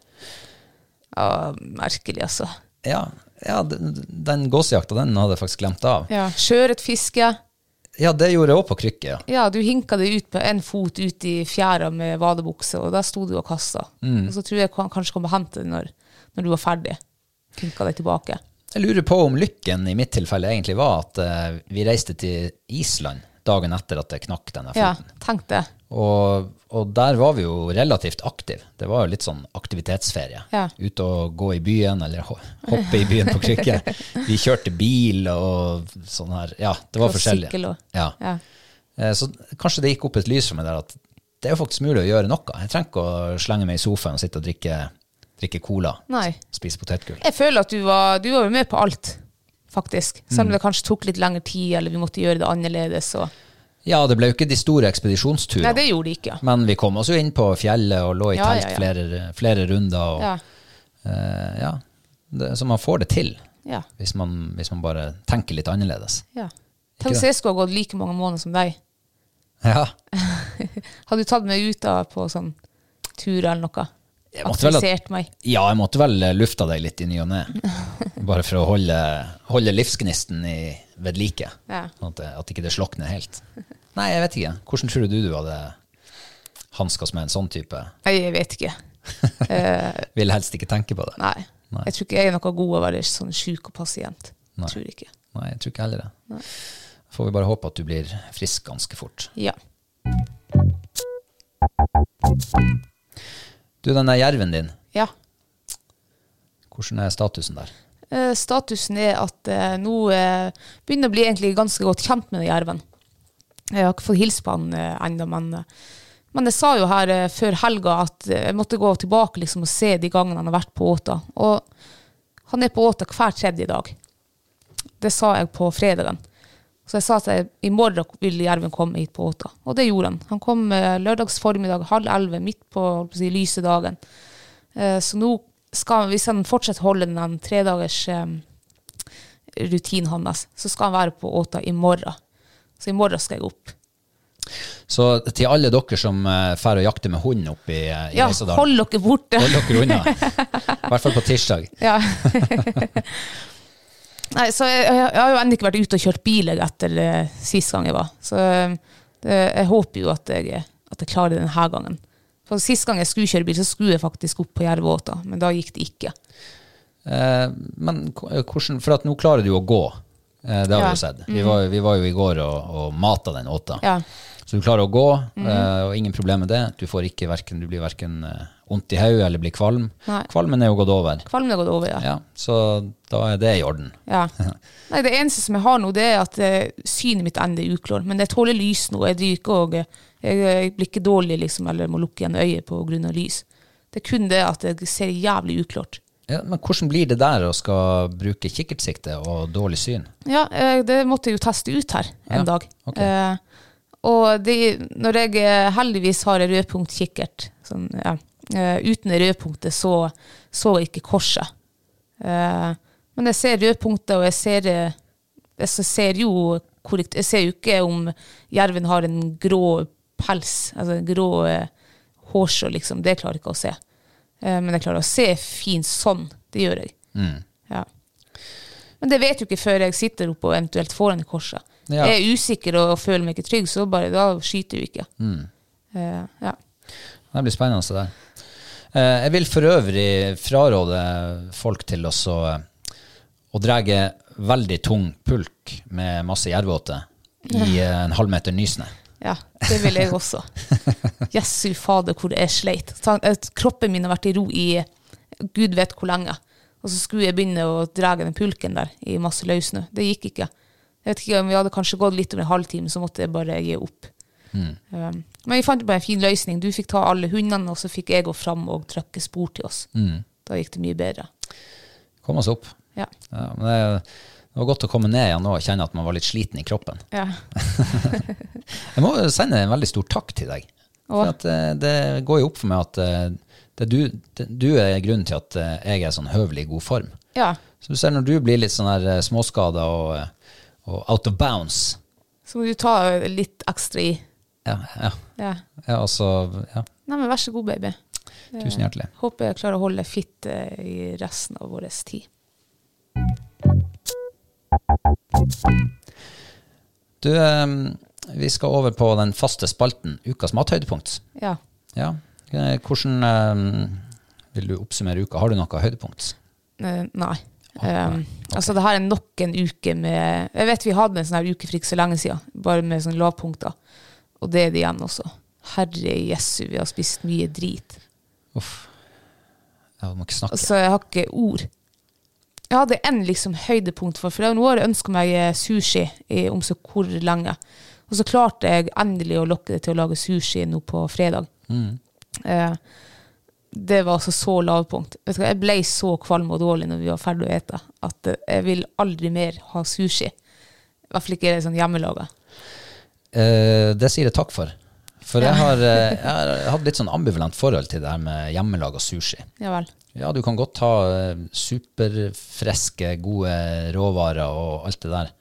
Speaker 2: ja, Merkelig, altså.
Speaker 1: Ja, ja den, den gåsejakta, den hadde jeg faktisk glemt av.
Speaker 2: Ja. Sjøørretfiske.
Speaker 1: Ja, det gjorde jeg òg på krykke. Ja.
Speaker 2: Ja, du hinka deg ut på en fot ut i fjæra med vadebukse, og der sto du og kasta.
Speaker 1: Mm.
Speaker 2: Og så tror jeg han kanskje kom og hentet deg når, når du var ferdig. Hinka deg tilbake.
Speaker 1: Jeg lurer på om lykken i mitt tilfelle egentlig var at eh, vi reiste til Island dagen etter at jeg knakk denne
Speaker 2: Ja,
Speaker 1: foten.
Speaker 2: tenk det.
Speaker 1: Og, og der var vi jo relativt aktive. Det var jo litt sånn aktivitetsferie.
Speaker 2: Ja.
Speaker 1: Ute og gå i byen, eller ho- hoppe i byen på krykke.
Speaker 2: [laughs]
Speaker 1: Vi kjørte bil og sånn her. Ja, det var
Speaker 2: Og
Speaker 1: forskjellig.
Speaker 2: sykkel og-
Speaker 1: Ja.
Speaker 2: Ja.
Speaker 1: Eh, Så kanskje det gikk opp et lys for meg der at det er jo faktisk mulig å gjøre noe. Jeg trenger ikke å slenge meg i sofaen og sitte og drikke, drikke cola.
Speaker 2: Nei.
Speaker 1: Spise potetgull.
Speaker 2: Jeg føler at du var, du var jo med på alt, faktisk. Selv
Speaker 1: Mm.
Speaker 2: om det kanskje tok litt lengre tid, eller vi måtte gjøre det annerledes. Og...
Speaker 1: Ja, det ble jo ikke de store ekspedisjonsturene.
Speaker 2: Nei, det gjorde det ikke.
Speaker 1: Men vi kom oss jo inn på fjellet og lå i
Speaker 2: Ja,
Speaker 1: telt
Speaker 2: ja, ja.
Speaker 1: Flere, flere runder. Og,
Speaker 2: Ja.
Speaker 1: Eh, ja. Det, så man får det til
Speaker 2: Ja.
Speaker 1: hvis man, hvis man bare tenker litt annerledes. [laughs]
Speaker 2: ja. Tenk
Speaker 1: det.
Speaker 2: hvis jeg skulle ha gått like mange måneder som deg.
Speaker 1: Ja.
Speaker 2: Hadde du tatt meg ut da på sånn tur eller noe?
Speaker 1: Jeg måtte vel ha-
Speaker 2: Aktivisert meg?
Speaker 1: ja, jeg måtte vel lufta deg litt i ny og
Speaker 2: [laughs]
Speaker 1: ne. Bare for å holde, holde livsgnisten i, ved like.
Speaker 2: Ja.
Speaker 1: Sånn at, det- at ikke det slokner helt. Nei, jeg vet ikke. Hvordan tror du du hadde hanskes med en sånn type?
Speaker 2: Nei, jeg vet ikke.
Speaker 1: Vil helst ikke tenke på det.
Speaker 2: Nei.
Speaker 1: Nei.
Speaker 2: Jeg tror ikke jeg er noe god å være sånn syk og pasient.
Speaker 1: Nei.
Speaker 2: Tror ikke.
Speaker 1: Nei, jeg tror ikke heller det. Får vi bare håpe at du blir frisk ganske fort.
Speaker 2: Ja.
Speaker 1: Du, den der jerven din,
Speaker 2: ja.
Speaker 1: hvordan er statusen der?
Speaker 2: Eh, statusen er at eh, nå eh, begynner jeg å bli egentlig ganske godt kjent med den jerven. Jeg har ikke fått hilse på han eh, ennå, men, eh, men jeg sa jo her eh, før helga at eh, jeg måtte gå tilbake liksom, og se de gangene han har vært på åta. Og han er på åta hver tredje dag. Det sa jeg på fredagen. Så jeg sa at jeg, i morgen ville jerven komme hit på åta. Og det gjorde han. Han kom eh, lørdags formiddag halv elleve, midt på, holdt på å si, lyse dagen. Eh, Så nå skal han, hvis han fortsetter å holde den tredagers um, rutinen hans, så skal han være på åta i morgen. Så i morgen skal jeg opp.
Speaker 1: Så til alle dere som eh, drar og jakter med hund oppe i, eh, i
Speaker 2: Ja,
Speaker 1: Reisadalen,
Speaker 2: hold dere borte.
Speaker 1: hold dere
Speaker 2: [laughs]
Speaker 1: unna. I hvert fall på tirsdag.
Speaker 2: Ja. [laughs] Nei, så jeg, jeg, jeg har jo ennå ikke vært ute og kjørt bil jeg, etter eh, sist gang jeg var. Så eh, det, jeg håper jo at jeg, at jeg klarer det denne gangen. For Sist gang jeg skulle kjøre bil, så skulle jeg faktisk opp på Jervåta, men da gikk det ikke.
Speaker 1: Eh, men ko- eh, hvordan, for at nå klarer du å gå. Eh, det har vi
Speaker 2: Ja. Mhm.
Speaker 1: jo sett. Vi var, vi var jo i går og, og mata den åta.
Speaker 2: Ja.
Speaker 1: Så du klarer å gå, eh, og ingen problem med det. Du, får ikke hverken, du blir verken vondt i hodet eller blir kvalm.
Speaker 2: Nei.
Speaker 1: Kvalmen er jo gått over.
Speaker 2: Kvalmen har gått over, ja.
Speaker 1: Ja, så da er det i orden.
Speaker 2: Ja. Nei, det eneste som jeg har nå, det er at eh, synet mitt ennå er uklart. Men jeg tåler lys nå. Jeg, driver ikke og, eh, jeg, jeg blir ikke dårlig liksom, eller må lukke igjen øyet pga. lys. Det er kun det at jeg ser jævlig uklart.
Speaker 1: Ja, men hvordan blir det der å skal bruke kikkertsikte og dårlig syn?
Speaker 2: Ja, eh, det måtte jeg jo teste ut her en
Speaker 1: Ja,
Speaker 2: dag.
Speaker 1: ok.
Speaker 2: Eh, og det, når jeg eh, heldigvis har en rødpunktkikkert, sånn, ja, eh, uten det rødpunktet så så jeg ikke korset. Eh, men jeg ser rødpunktet, og jeg ser, eh, jeg så ser jo korrekt, jeg ser jo ikke om jerven har en grå pels, altså en grå eh, hårsjå, liksom. Det klarer jeg ikke å se. Eh, men jeg klarer å se fint sånn. Det gjør jeg.
Speaker 1: Mm.
Speaker 2: Ja. Men det vet du ikke før jeg sitter oppe og eventuelt får den i korset.
Speaker 1: Ja.
Speaker 2: Jeg er usikker og føler meg ikke trygg, så bare, da skyter du ikke. Eh, ja.
Speaker 1: Det blir spennende det der. Eh, Jeg vil for øvrig fraråde folk til oss å, å dreie veldig tung pulk med masse jervåte i eh, en halvmeter nysnø.
Speaker 2: ja, det vil jeg også. Jesu fader, hvor jeg sleit. Ta- at Kroppen min har vært i ro i gud vet hvor lenge. Og så skulle jeg begynne å dra den pulken der i masse løssnø. Det gikk ikke. Jeg vet ikke om vi hadde kanskje gått litt over en halvtime, så måtte jeg bare gi opp. Um, men vi fant bare en fin løsning. Du fikk ta alle hundene, og så fikk jeg gå fram og trykke spor til oss. Da gikk det mye bedre.
Speaker 1: Kom oss opp.
Speaker 2: Ja.
Speaker 1: Ja, men det, det var godt å komme ned igjen nå og kjenne at man var litt sliten i kroppen.
Speaker 2: Ja.
Speaker 1: Jeg må sende en veldig stor takk til deg. For at eh, det går jo opp for meg at eh, det er du, det, du er grunnen til at eh, jeg er sånn høvelig i god form.
Speaker 2: ja.
Speaker 1: Så du ser når du blir litt sånn her eh, småskada og, eh, og out of bounds
Speaker 2: Så må du ta litt ekstra i.
Speaker 1: Ja, ja.
Speaker 2: Ja.
Speaker 1: ja altså ja.
Speaker 2: Nei, men vær så god, baby.
Speaker 1: Tusen hjertelig.
Speaker 2: Håper jeg klarer å holde fitt eh, i resten av vår tid.
Speaker 1: Du, eh, vi skal over på den faste spalten Ukas mathøydepunkt.
Speaker 2: Ja.
Speaker 1: Ja. Eh, Hvordan eh, vil du oppsummere uka? Har du noe høydepunkt?
Speaker 2: Eh, nei. Um, Altså, det her er nok en uke med Jeg vet vi hadde en sånn her uke for ikke så lenge siden, bare med sånne lavpunkter. Og det er det igjen også. Herre jesu, vi har spist mye drit.
Speaker 1: Uff. Jeg må ikke snakke.
Speaker 2: Altså, jeg har ikke ord. Jeg hadde en liksom høydepunkt for, for det er jo noe jeg ønska meg eh, sushi i om så hvor lenge. Og så klarte jeg endelig å lokke det til å lage sushi nå på fredag.
Speaker 1: Mm.
Speaker 2: Eh, det var altså så lavpunkt. Vet du hva, Jeg ble så kvalm og dårlig når vi var ferdig å ete, at eh, jeg vil aldri mer ha sushi. I hvert fall ikke sånn hjemmelaga.
Speaker 1: Eh, det sier jeg takk for. For jeg har, eh, jeg har hatt litt sånn ambivalent forhold til det her med hjemmelaga sushi.
Speaker 2: Ja vel.
Speaker 1: Ja, du kan godt ha eh, superfreske, gode råvarer og alt det der,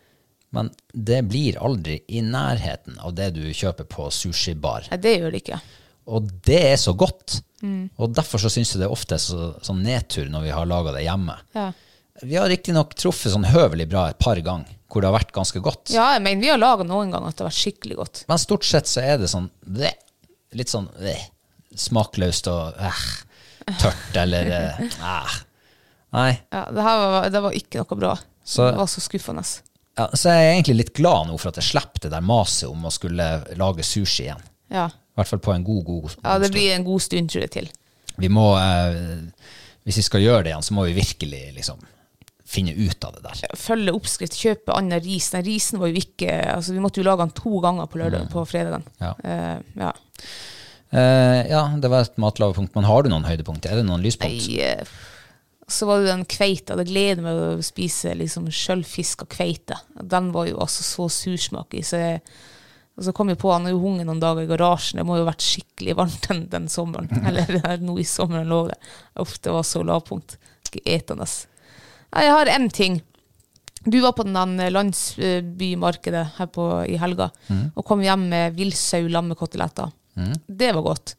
Speaker 1: men det blir aldri i nærheten av det du kjøper på sushibar.
Speaker 2: Nei, det gjør det ikke.
Speaker 1: Og det er så godt. Og derfor så syns jeg det ofte er så, sånn nedtur når vi har laga det hjemme.
Speaker 2: Ja.
Speaker 1: Vi har riktignok truffet sånn høvelig bra et par ganger hvor det har vært ganske godt.
Speaker 2: ja, jeg mener, vi har laga noen ganger at det har vært skikkelig godt.
Speaker 1: Men stort sett så er det sånn bleh, Litt sånn bleh, smakløst og eh, tørt eller eh, eh. Nei.
Speaker 2: Ja, det her var, det var ikke noe bra.
Speaker 1: Så-
Speaker 2: det var så skuffende.
Speaker 1: Ja, så jeg er egentlig litt glad nå for at jeg slipper det der maset om å skulle lage sushi igjen.
Speaker 2: Ja.
Speaker 1: I hvert fall på en god, god
Speaker 2: ja, det blir en god stund, tror jeg, til.
Speaker 1: Vi må, eh, hvis vi skal gjøre det igjen, så må vi virkelig liksom finne ut av det der.
Speaker 2: Følge oppskrift, kjøpe annen ris. Den risen var jo ikke altså Vi måtte jo lage den to ganger på lørdag på fredagen.
Speaker 1: Ja.
Speaker 2: Eh, ja.
Speaker 1: Eh, ja, det var et matlavepunkt. Men har du noen høydepunkt? Er det noen lyspunkt?
Speaker 2: Nei, eh, Så var det den kveita. Det gleder meg å spise liksom sjølfiska kveite. Den var jo altså så sursmak i. Så jeg, og så kom jeg på han har jo hunget noen dager i garasjen. Det må jo ha vært skikkelig varmt den, den sommeren. Eller nå i sommeren lå det. Uff, det var så lavpunkt. Ikke etende. Nei, Jeg har én ting. Du var på den der landsbymarkedet her på, i helga og kom hjem med villsau lammekoteletter. Det var godt.
Speaker 1: Mm,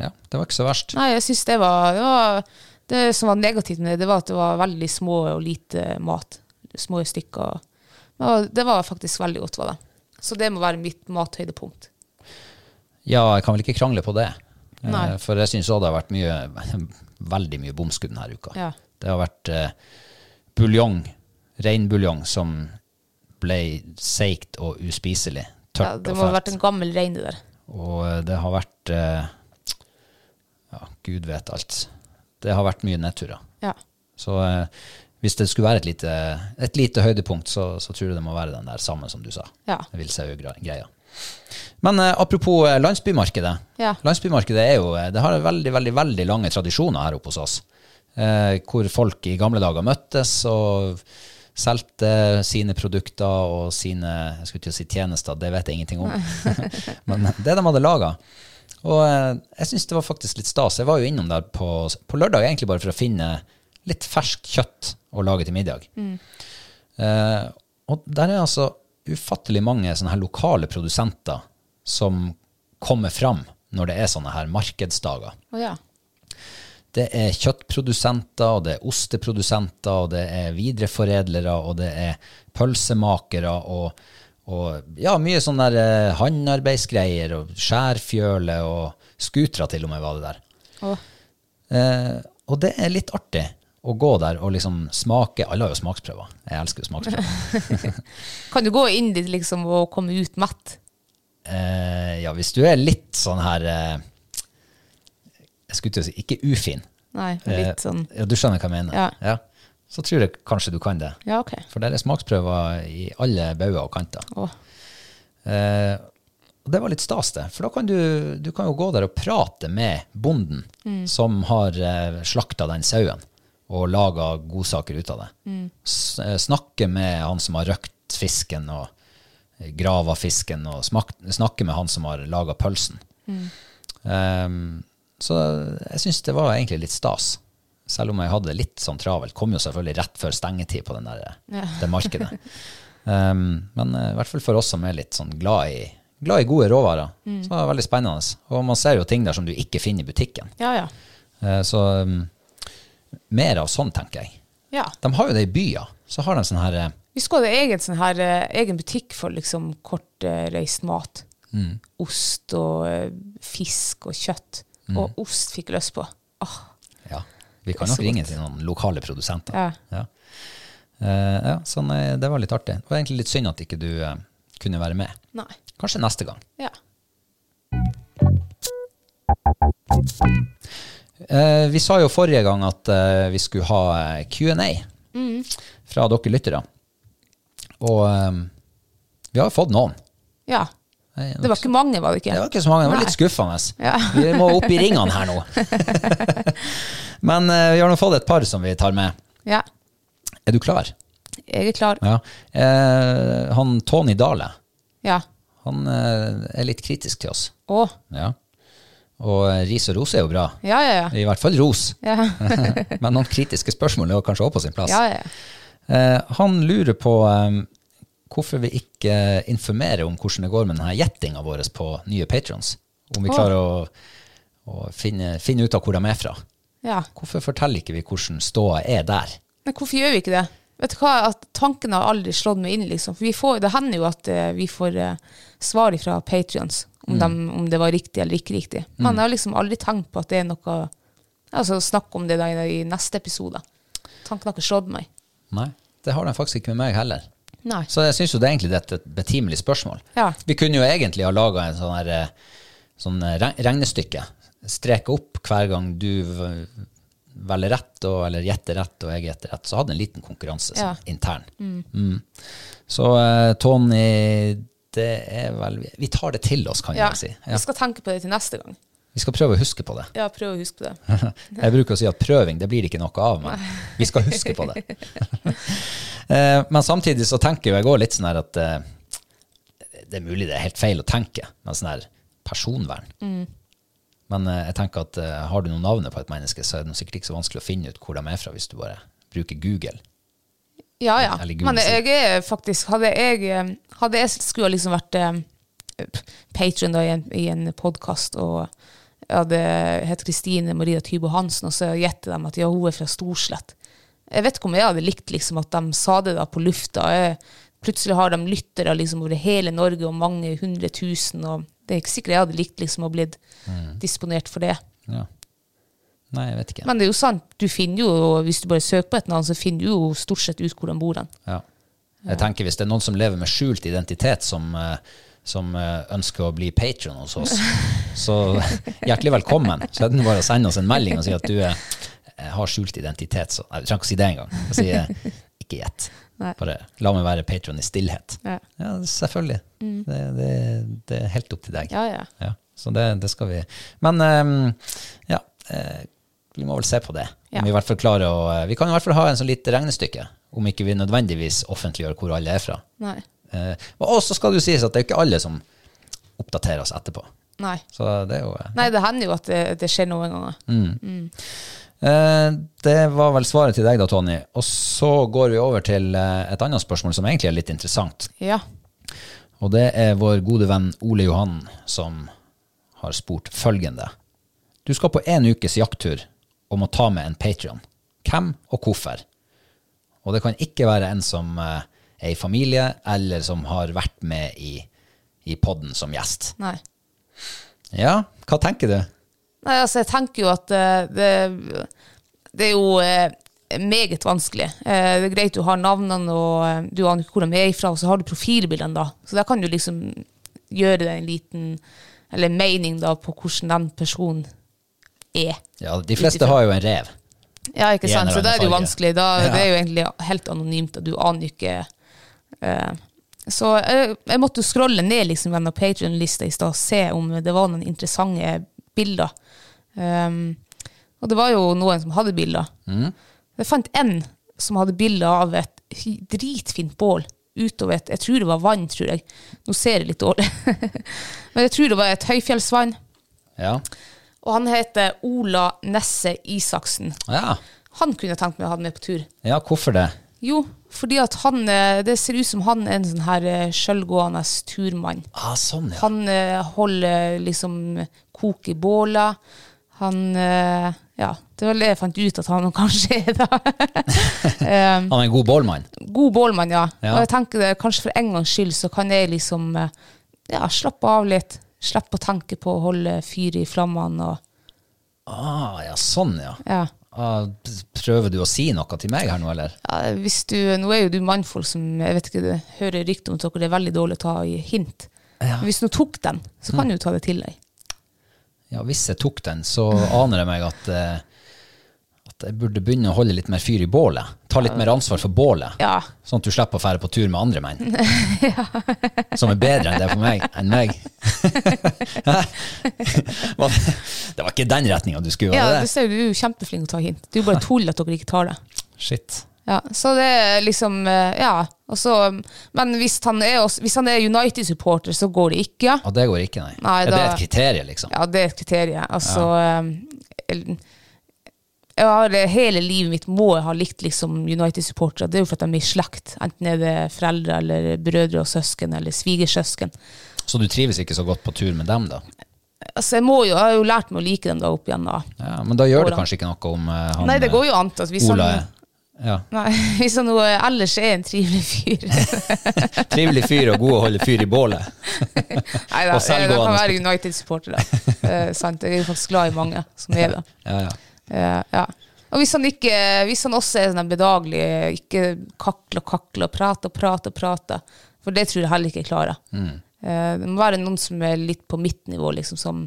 Speaker 1: Ja, det var ikke så verst.
Speaker 2: Nei, jeg synes det var, det var Det som var negativt med det, det var at det var veldig små og lite mat. Små stykker. Det var, det var faktisk veldig godt, var det. Så det må være mitt mathøydepunkt.
Speaker 1: Ja, jeg kan vel ikke krangle på det. Eh,
Speaker 2: Nei.
Speaker 1: For jeg syns òg det har vært mye, [laughs] veldig mye bomskudd denne uka.
Speaker 2: Ja.
Speaker 1: Det har vært eh, buljong, reinbuljong, som ble seigt og uspiselig.
Speaker 2: Ja,
Speaker 1: Tørt
Speaker 2: det må
Speaker 1: og
Speaker 2: ha vært
Speaker 1: fælt.
Speaker 2: en gammel rein det der.
Speaker 1: Og eh, det har vært eh, Ja, gud vet alt. Det har vært mye nedturer.
Speaker 2: Ja.
Speaker 1: Så eh, hvis det skulle være et lite, et lite høydepunkt, så, så tror jeg det må være den der samme som du sa.
Speaker 2: Ja.
Speaker 1: Villsau-greia. Men eh, apropos eh, landsbymarkedet.
Speaker 2: Ja.
Speaker 1: Landsbymarkedet er jo, eh, det har veldig veldig, veldig lange tradisjoner her oppe hos oss. Eh, hvor folk i gamle dager møttes og solgte sine produkter og sine jeg skulle til å si tjenester, det vet jeg ingenting
Speaker 2: [laughs]
Speaker 1: om. Men det de hadde laga. Og eh, jeg syns det var faktisk litt stas. Jeg var jo innom der på, på lørdag egentlig bare for å finne litt ferskt kjøtt å lage til middag. Eh, og der er altså ufattelig mange sånne her lokale produsenter som kommer fram når det er sånne her markedsdager.
Speaker 2: Å ja.
Speaker 1: Det er kjøttprodusenter, og det er osteprodusenter, og det er videreforedlere, og det er pølsemakere, og, og ja, mye sånn der eh, handarbeidsgreier, og skjærfjøle, og skutra til og med var det der.
Speaker 2: Å,
Speaker 1: Eh, og det er litt artig å gå der og liksom smake. Alle har jo smaksprøver. Jeg elsker jo smaksprøver.
Speaker 2: Kan du gå inn dit liksom og komme ut mett?
Speaker 1: Eh, ja, hvis du er litt sånn her eh, Jeg skulle til å si ikke ufin.
Speaker 2: Nei,
Speaker 1: Eh,
Speaker 2: litt sånn
Speaker 1: ja, du skjønner hva jeg mener.
Speaker 2: Ja.
Speaker 1: Så tror jeg kanskje du kan det.
Speaker 2: Ja, ok.
Speaker 1: For der er smaksprøver i alle bauger og kanter.
Speaker 2: Å,
Speaker 1: Eh, og det var litt stas, det. For da kan du, du kan jo gå der og prate med bonden som har eh, slakta den sauen og laga godsaker ut av det. S eh, snakke med han som har røkt fisken og eh, grava fisken, og smak snakke med han som har laga pølsen. Eh, så jeg syns det var egentlig litt stas. Selv om jeg hadde det litt sånn travelt. Kom jo selvfølgelig rett før stengetid på den der, det markedet. Um, men eh, i hvert fall for oss som er litt sånn glad i, glad i gode råvarer, så var det veldig spennende. Og man ser jo ting der som du ikke finner i butikken.
Speaker 2: ja, ja.
Speaker 1: Eh, så um, mer av sånn, tenker jeg.
Speaker 2: Ja.
Speaker 1: De har jo det i byer. Så har de sånn her eh,
Speaker 2: Vi skulle ha egen, sånn her, eh, egen butikk for liksom kortreist mat.
Speaker 1: mm,
Speaker 2: Ost og eh, fisk og kjøtt. Og ost fikk jeg lyst på. Åh,
Speaker 1: Ja, vi kan
Speaker 2: Det er
Speaker 1: nok
Speaker 2: så
Speaker 1: ringe
Speaker 2: godt.
Speaker 1: til noen lokale produsenter.
Speaker 2: Ja.
Speaker 1: Ja. Eh, ja, så nei, det var litt artig. Det var egentlig litt synd at ikke du eh, kunne være med.
Speaker 2: nei.
Speaker 1: Kanskje neste gang.
Speaker 2: Ja.
Speaker 1: Eh, vi sa jo forrige gang at eh, vi skulle ha eh, Q&A
Speaker 2: Mm.
Speaker 1: fra dere lyttere. Og eh, vi har fått noen.
Speaker 2: ja.
Speaker 1: Nei,
Speaker 2: Det var ikke mange, var det ikke?
Speaker 1: Det var ikke så mange, det var
Speaker 2: Nei.
Speaker 1: litt skuffende.
Speaker 2: Ja.
Speaker 1: Vi må opp i ringene her nå.
Speaker 2: [laughs]
Speaker 1: Men eh, vi har nå fått et par som vi tar med.
Speaker 2: Ja.
Speaker 1: Er du klar?
Speaker 2: Jeg er klar.
Speaker 1: Ja. Eh, han Tony Dale,
Speaker 2: Ja.
Speaker 1: han eh, er litt kritisk til oss.
Speaker 2: Å.
Speaker 1: Ja. Og eh, ris og ros er jo bra.
Speaker 2: Ja, ja, ja.
Speaker 1: I hvert fall ros.
Speaker 2: Ja,
Speaker 1: Men noen kritiske spørsmål er jo kanskje også på sin plass.
Speaker 2: ja. ja.
Speaker 1: Eh, han lurer på eh, hvorfor vi ikke informerer om hvordan det går med denne gjettinga vår på nye patrons. Om vi
Speaker 2: Å.
Speaker 1: klarer å, å finne, finne ut av hvor de er fra.
Speaker 2: ja.
Speaker 1: Hvorfor forteller ikke vi hvordan ståa er der?
Speaker 2: Men hvorfor gjør vi ikke det? Vet du hva, at Tanken har aldri slått meg inn. liksom. For vi får, Det hender jo at eh, vi får eh, svar fra Patrions om, dem- om det var riktig eller ikke riktig. Men jeg har liksom aldri tenkt på at det er noe altså Snakk om det da i, i neste episode. Tanken har ikke slått meg.
Speaker 1: Nei, det har de faktisk ikke med meg heller.
Speaker 2: Nei.
Speaker 1: Så jeg syns jo det er egentlig det er et betimelig spørsmål.
Speaker 2: Ja.
Speaker 1: Vi kunne jo egentlig ha laga en sånn her, eh, sånn eh, reg- regnestykke. Streke opp hver gang du v- velger rett, og, eller gjetter rett, og jeg gjetter rett. Så hadde en liten konkurranse sånn, intern. Mm. Så eh, Tony, det er vel Vi tar det til oss, kan jeg
Speaker 2: Ja.
Speaker 1: vel si.
Speaker 2: Vi
Speaker 1: Ja.
Speaker 2: skal tenke på det til neste gang.
Speaker 1: Vi skal prøve å huske på det.
Speaker 2: Ja, prøv å huske på det.
Speaker 1: [laughs] Jeg bruker å si at prøving, det blir ikke noe av, men vi skal huske på det. [laughs] Eh, men samtidig så tenker jo jeg òg litt sånn her at eh, det er mulig det er helt feil å tenke, men sånn her personvern. Men eh, jeg tenker at eh, har du noe navnet på et menneske, så er det sikkert ikke så vanskelig å finne ut hvor de er fra, hvis du bare bruker Google.
Speaker 2: Ja, ja.
Speaker 1: Eller gul
Speaker 2: Men
Speaker 1: musikk.
Speaker 2: jeg er faktisk Hadde jeg, eh, hadde jeg skulle ha liksom vært eh, patron da i en, i en podkast, og jeg hadde hett Kristine Maria Tybo Hansen, og så gjetter de at ja, hun er fra Storslett. Jeg vet ikke om jeg hadde likt liksom, at de sa det da på lufta. Jeg, plutselig har de lyttere liksom, over hele Norge, og mange hundre tusen. Og det er ikke sikkert jeg hadde likt liksom, å blitt
Speaker 1: Mm.
Speaker 2: disponert for det.
Speaker 1: Ja. Nei, jeg vet ikke.
Speaker 2: Men det er jo sant, du finner jo, hvis du bare søker på et navn, så finner du jo stort sett ut hvor de bor. Den.
Speaker 1: Ja. Jeg tenker Hvis det er noen som lever med skjult identitet, som, eh, som eh, ønsker å bli patron hos oss,
Speaker 2: [laughs]
Speaker 1: så hjertelig velkommen. Så er det bare å sende oss en melding og si at du eh, har skjult identitet. Så, nei, du trenger ikke å si det engang. Jeg sier eh, ikke gjett.
Speaker 2: Nei.
Speaker 1: Bare la meg være patron i stillhet.
Speaker 2: Ja. Mm.
Speaker 1: Ja, selvfølgelig. Det, det, det er helt opp til deg.
Speaker 2: Ja, ja.
Speaker 1: Ja, så det, det skal vi. Men ehm, ja, eh, vi må vel se på det. Om
Speaker 2: Ja.
Speaker 1: Vi, i hvert fall klarer å, vi kan i hvert fall ha en sånn lite regnestykke, om ikke vi nødvendigvis offentliggjør hvor alle er fra.
Speaker 2: Nei.
Speaker 1: Eh, og så skal det jo sies at det er jo ikke alle som oppdaterer oss etterpå.
Speaker 2: Nei.
Speaker 1: Så det er jo eh,
Speaker 2: Nei, det hender jo at det, det skjer noen ganger.
Speaker 1: Eh, Det var vel svaret til deg da, Tony. Og så går vi over til eh, et annet spørsmål som egentlig er litt interessant.
Speaker 2: Ja.
Speaker 1: Og det er vår gode venn Ole Johan som har spurt følgende. Du skal på en ukes jakttur og må ta med en Patrion. Hvem og hvorfor? Og det kan ikke være en som eh, er i familie, eller som har vært med i, i podden som gjest.
Speaker 2: Nei.
Speaker 1: Ja, hva tenker du?
Speaker 2: Nei, altså, jeg tenker jo at eh, det, det er jo eh, meget vanskelig. Eh, det er greit du har navnene, og eh, du aner ikke hvor de er ifra, og så har du profilbildene, da. Så der kan du liksom gjøre deg en liten eller mening da, på hvordan den personen er.
Speaker 1: Ja, de fleste har jo en rev.
Speaker 2: Ja, ikke
Speaker 1: I en
Speaker 2: sant?
Speaker 1: eller
Speaker 2: Så
Speaker 1: annen
Speaker 2: da er det jo
Speaker 1: farge.
Speaker 2: vanskelig. Da,
Speaker 1: Ja.
Speaker 2: Det er jo egentlig helt anonymt, og du aner jo ikke eh, Så jeg, jeg måtte jo scrolle ned liksom, gjennom Patrion-lista i stad og se om det var noen interessante bilder. Um, og det var jo noen som hadde bilder.
Speaker 1: Mm.
Speaker 2: Jeg fant en som hadde bilder av et hi- dritfint bål utover et Jeg tror det var vann, tror jeg. Nå ser jeg litt dårlig. [laughs] Men jeg tror det var et høyfjellsvann.
Speaker 1: Ja.
Speaker 2: Og han heter Ola Nesse Isaksen.
Speaker 1: Ja.
Speaker 2: Han kunne jeg tenkt meg å ha med på tur.
Speaker 1: ja, hvorfor det?
Speaker 2: Jo, fordi at han, eh, det ser ut som han er en sånn her eh, sjølgående turmann.
Speaker 1: Ah, sånn, ja.
Speaker 2: Han eh, holder liksom kok i båla. Han eh, Ja, det var det jeg fant ut at han [laughs] kanskje er, da. Eh,
Speaker 1: Han er en god bålmann.
Speaker 2: God bålmann, ja.
Speaker 1: Ja.
Speaker 2: Og jeg tenker det, kanskje for en gangs skyld så kan jeg liksom eh, ja, slappe av litt. Slippe å tenke på å holde fyr i flammene og
Speaker 1: Ah, ja, sånn, ja.
Speaker 2: Ja.
Speaker 1: Ah, prøver du å si noe til meg her nå, eller?
Speaker 2: Ja, Eh, hvis du, nå er jo du mannfolk som jeg vet ikke, det- hører rykter om at dere er veldig dårlig til å ta i hint. Men Hvis du tok den, så kan du jo ta det til deg.
Speaker 1: Ja, hvis jeg tok den, så aner jeg meg at, eh, at jeg burde begynne å holde litt mer fyr i bålet. Ta litt mer ansvar for bålet.
Speaker 2: Ja.
Speaker 1: Sånn at du slipper å fære på tur med andre
Speaker 2: [laughs]
Speaker 1: menn. Som er bedre enn det for meg. Enn meg.
Speaker 2: [laughs]
Speaker 1: Hva- det var ikke den retninga du skulle, var
Speaker 2: ja
Speaker 1: det
Speaker 2: du
Speaker 1: det?
Speaker 2: ser jo, du er jo kjempeflink til å ta hint. Det er [laughs] jo bare tull at dere ikke tar det.
Speaker 1: Shit.
Speaker 2: Ja, så det er liksom eh, Ja. Og så, men hvis han er, også- hvis han er United-supporter, så går det ikke. Ja.
Speaker 1: Og det går ikke, nei.
Speaker 2: Nei,
Speaker 1: Er det
Speaker 2: da-
Speaker 1: et kriterium, liksom?
Speaker 2: Ja, det er et kriterium. Altså, eh, el- jeg har eh, hele livet mitt må jeg ha likt liksom, United-supportere. Det er jo for at de er i slekt. Enten er det foreldre eller brødre og søsken eller svigersøsken.
Speaker 1: Så du trives ikke så godt på tur med dem, da?
Speaker 2: Altså, jeg, må jo, jeg har jo lært meg å like dem da opp igjennom.
Speaker 1: Ja, men da gjør det
Speaker 2: Hvordan?
Speaker 1: kanskje ikke noe om eh, han eh,
Speaker 2: Nei, det går jo an. Altså, hvis,
Speaker 1: Ola
Speaker 2: han,
Speaker 1: er ja.
Speaker 2: nei, [laughs] hvis han nå, eh, ellers er en trivelig fyr.
Speaker 1: [laughs] Trivelig fyr og god å holde fyr i bålet.
Speaker 2: Nei, da,
Speaker 1: Og
Speaker 2: jeg, eh, da kan
Speaker 1: selvgående.
Speaker 2: være United-supporter, da.
Speaker 1: [laughs]
Speaker 2: Eh, sant? Jeg er jo faktisk glad i mange som er det.
Speaker 1: Ja, ja.
Speaker 2: Eh, ja. Og hvis han, ikke, hvis han også er sånn der bedagelig, ikke kakle og kakle og prate og prate og prate, for det tror jeg heller ikke jeg klarer.
Speaker 1: Mm.
Speaker 2: Eh, det må være noen som er litt på mitt nivå, liksom, som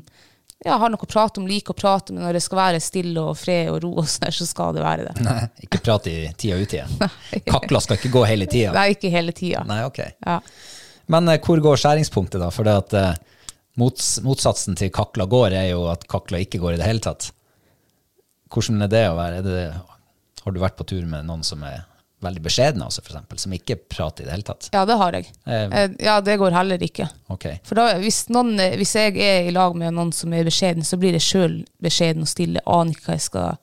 Speaker 2: ja, har noe å prate om, liker å prate, men når det skal være stille og fred og ro, og sånn, her, så skal det være det.
Speaker 1: Nei, ikke prat i tida og utida. Kakla skal ikke gå hele tida.
Speaker 2: Nei, ikke hele tida.
Speaker 1: Nei, ok.
Speaker 2: Ja.
Speaker 1: Men eh, hvor går skjæringspunktet, da? For det at eh, mots, motsatsen til kakla går, er jo at kakla ikke går i det hele tatt. Hvordan er det å være? Er det, har du vært på tur med noen som er veldig beskjedne, altså, for eksempel, som ikke prater i det hele tatt?
Speaker 2: ja, det har jeg.
Speaker 1: Eh.
Speaker 2: Eh, ja, det går heller ikke.
Speaker 1: Ok.
Speaker 2: For da, hvis, noen, hvis jeg er i lag med noen som er beskjeden, så blir jeg sjøl beskjeden og stille. Aner ikke hva jeg skal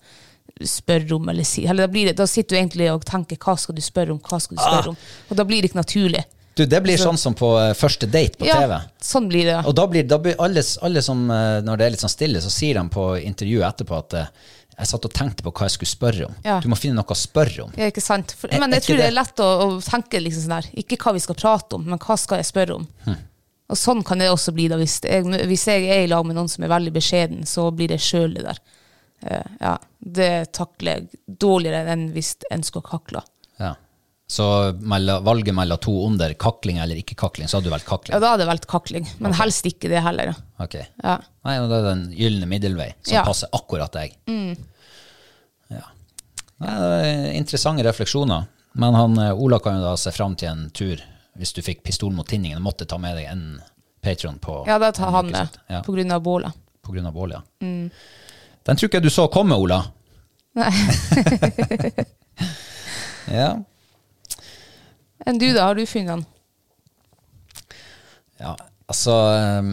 Speaker 2: spørre om eller si. Eller da, blir det, da sitter du egentlig og tenker hva skal du spørre om, hva skal du
Speaker 1: Ah.
Speaker 2: spørre om? Og da blir det ikke naturlig.
Speaker 1: Du, det blir sånn som på eh, første date på TV.
Speaker 2: Ja, sånn blir det.
Speaker 1: Og da blir, da blir alle, alle som, eh, når det er litt sånn stille, så sier de på intervjuet etterpå at eh, jeg satt og tenkte på hva jeg skulle spørre om.
Speaker 2: Ja.
Speaker 1: Du må finne noe å spørre om.
Speaker 2: Ja, ikke sant? For,
Speaker 1: Er-
Speaker 2: men
Speaker 1: er
Speaker 2: jeg
Speaker 1: ikke
Speaker 2: tror det er
Speaker 1: det-
Speaker 2: lett å, å tenke liksom sånn her, ikke hva vi skal prate om, men hva skal jeg spørre om?
Speaker 1: Hm.
Speaker 2: Og sånn kan det også bli da, hvis jeg, hvis jeg er i lag med noen som er veldig beskjeden, så blir det sjøl det der. Eh, ja, det takler jeg dårligere enn hvis en skal kakle.
Speaker 1: Ja. Så mellom- valget mellom to onder, kakling eller ikke kakling, så hadde du valgt
Speaker 2: Ja,
Speaker 1: kakling.
Speaker 2: da hadde jeg valgt kakling, men helst ikke det heller.
Speaker 1: Ok.
Speaker 2: Ja.
Speaker 1: Nei, og det er den gylne middelvei som
Speaker 2: Ja. Mm.
Speaker 1: passer akkurat deg. Ja. Nei, det er interessante refleksjoner. Men han, eh, Ola kan jo da se fram til en tur hvis du fikk pistol mot tinningen og måtte ta med deg en patron på
Speaker 2: ja, da tar
Speaker 1: en
Speaker 2: han
Speaker 1: uke
Speaker 2: det,
Speaker 1: sitt. Ja.
Speaker 2: på grunn av bålet.
Speaker 1: På grunn av bål, ja. Den tror ikke jeg du så komme, Ola.
Speaker 2: Nei.
Speaker 1: [laughs] Ja.
Speaker 2: Enn du da, har du funnet han?
Speaker 1: ja. Altså eh,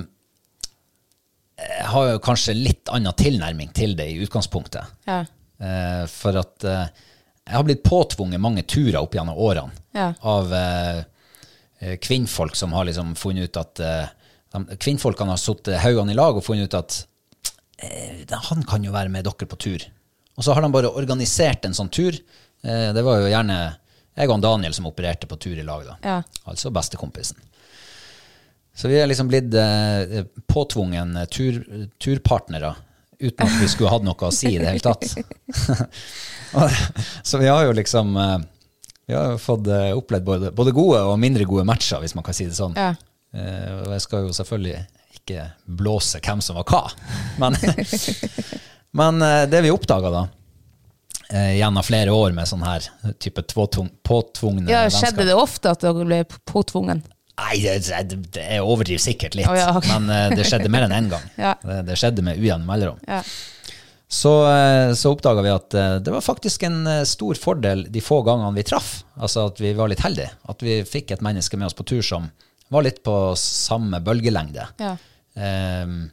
Speaker 1: Jeg har jo kanskje litt annen tilnærming til det i utgangspunktet.
Speaker 2: Ja.
Speaker 1: Eh, for at eh, jeg har blitt påtvunget mange turer opp gjennom årene
Speaker 2: Ja.
Speaker 1: av eh, eh, kvinnfolk som har liksom funnet ut at eh, de, Kvinnfolkene har satt haugene i lag og funnet ut at eh, han kan jo være med dere på tur. Og så har de bare organisert en sånn tur. Eh, det var jo gjerne jeg og han Daniel som opererte på tur i lag, da.
Speaker 2: Ja.
Speaker 1: Altså bestekompisen. Så vi er liksom blitt eh, påtvungen tur, turpartnere uten at vi skulle hatt noe å si i det hele
Speaker 2: [laughs]
Speaker 1: tatt. Og- [laughs] Så vi har jo liksom eh, Vi har jo fått eh, opplevd både, både gode og mindre gode matcher, hvis man kan si det sånn.
Speaker 2: Ja.
Speaker 1: Eh, og jeg skal jo selvfølgelig ikke blåse hvem som var hva,
Speaker 2: [laughs]
Speaker 1: men, men eh, det vi oppdaga da, eh, gjennom flere år med sånn her type tvåtung, påtvungne
Speaker 2: ja, skjedde det ofte at dere ble påtvungen?
Speaker 1: Nei, det, det, det jeg overdriver sikkert litt,
Speaker 2: Å ja, ok.
Speaker 1: men eh, det skjedde mer enn én gang.
Speaker 2: [laughs] Ja.
Speaker 1: Det, det skjedde med ujevne mellomrom.
Speaker 2: Ja.
Speaker 1: Så, eh, så oppdaga vi at eh, det var faktisk en eh, stor fordel de få gangene vi traff, altså at vi var litt heldige. At vi fikk et menneske med oss på tur som var litt på samme bølgelengde.
Speaker 2: Ja.
Speaker 1: Ehm,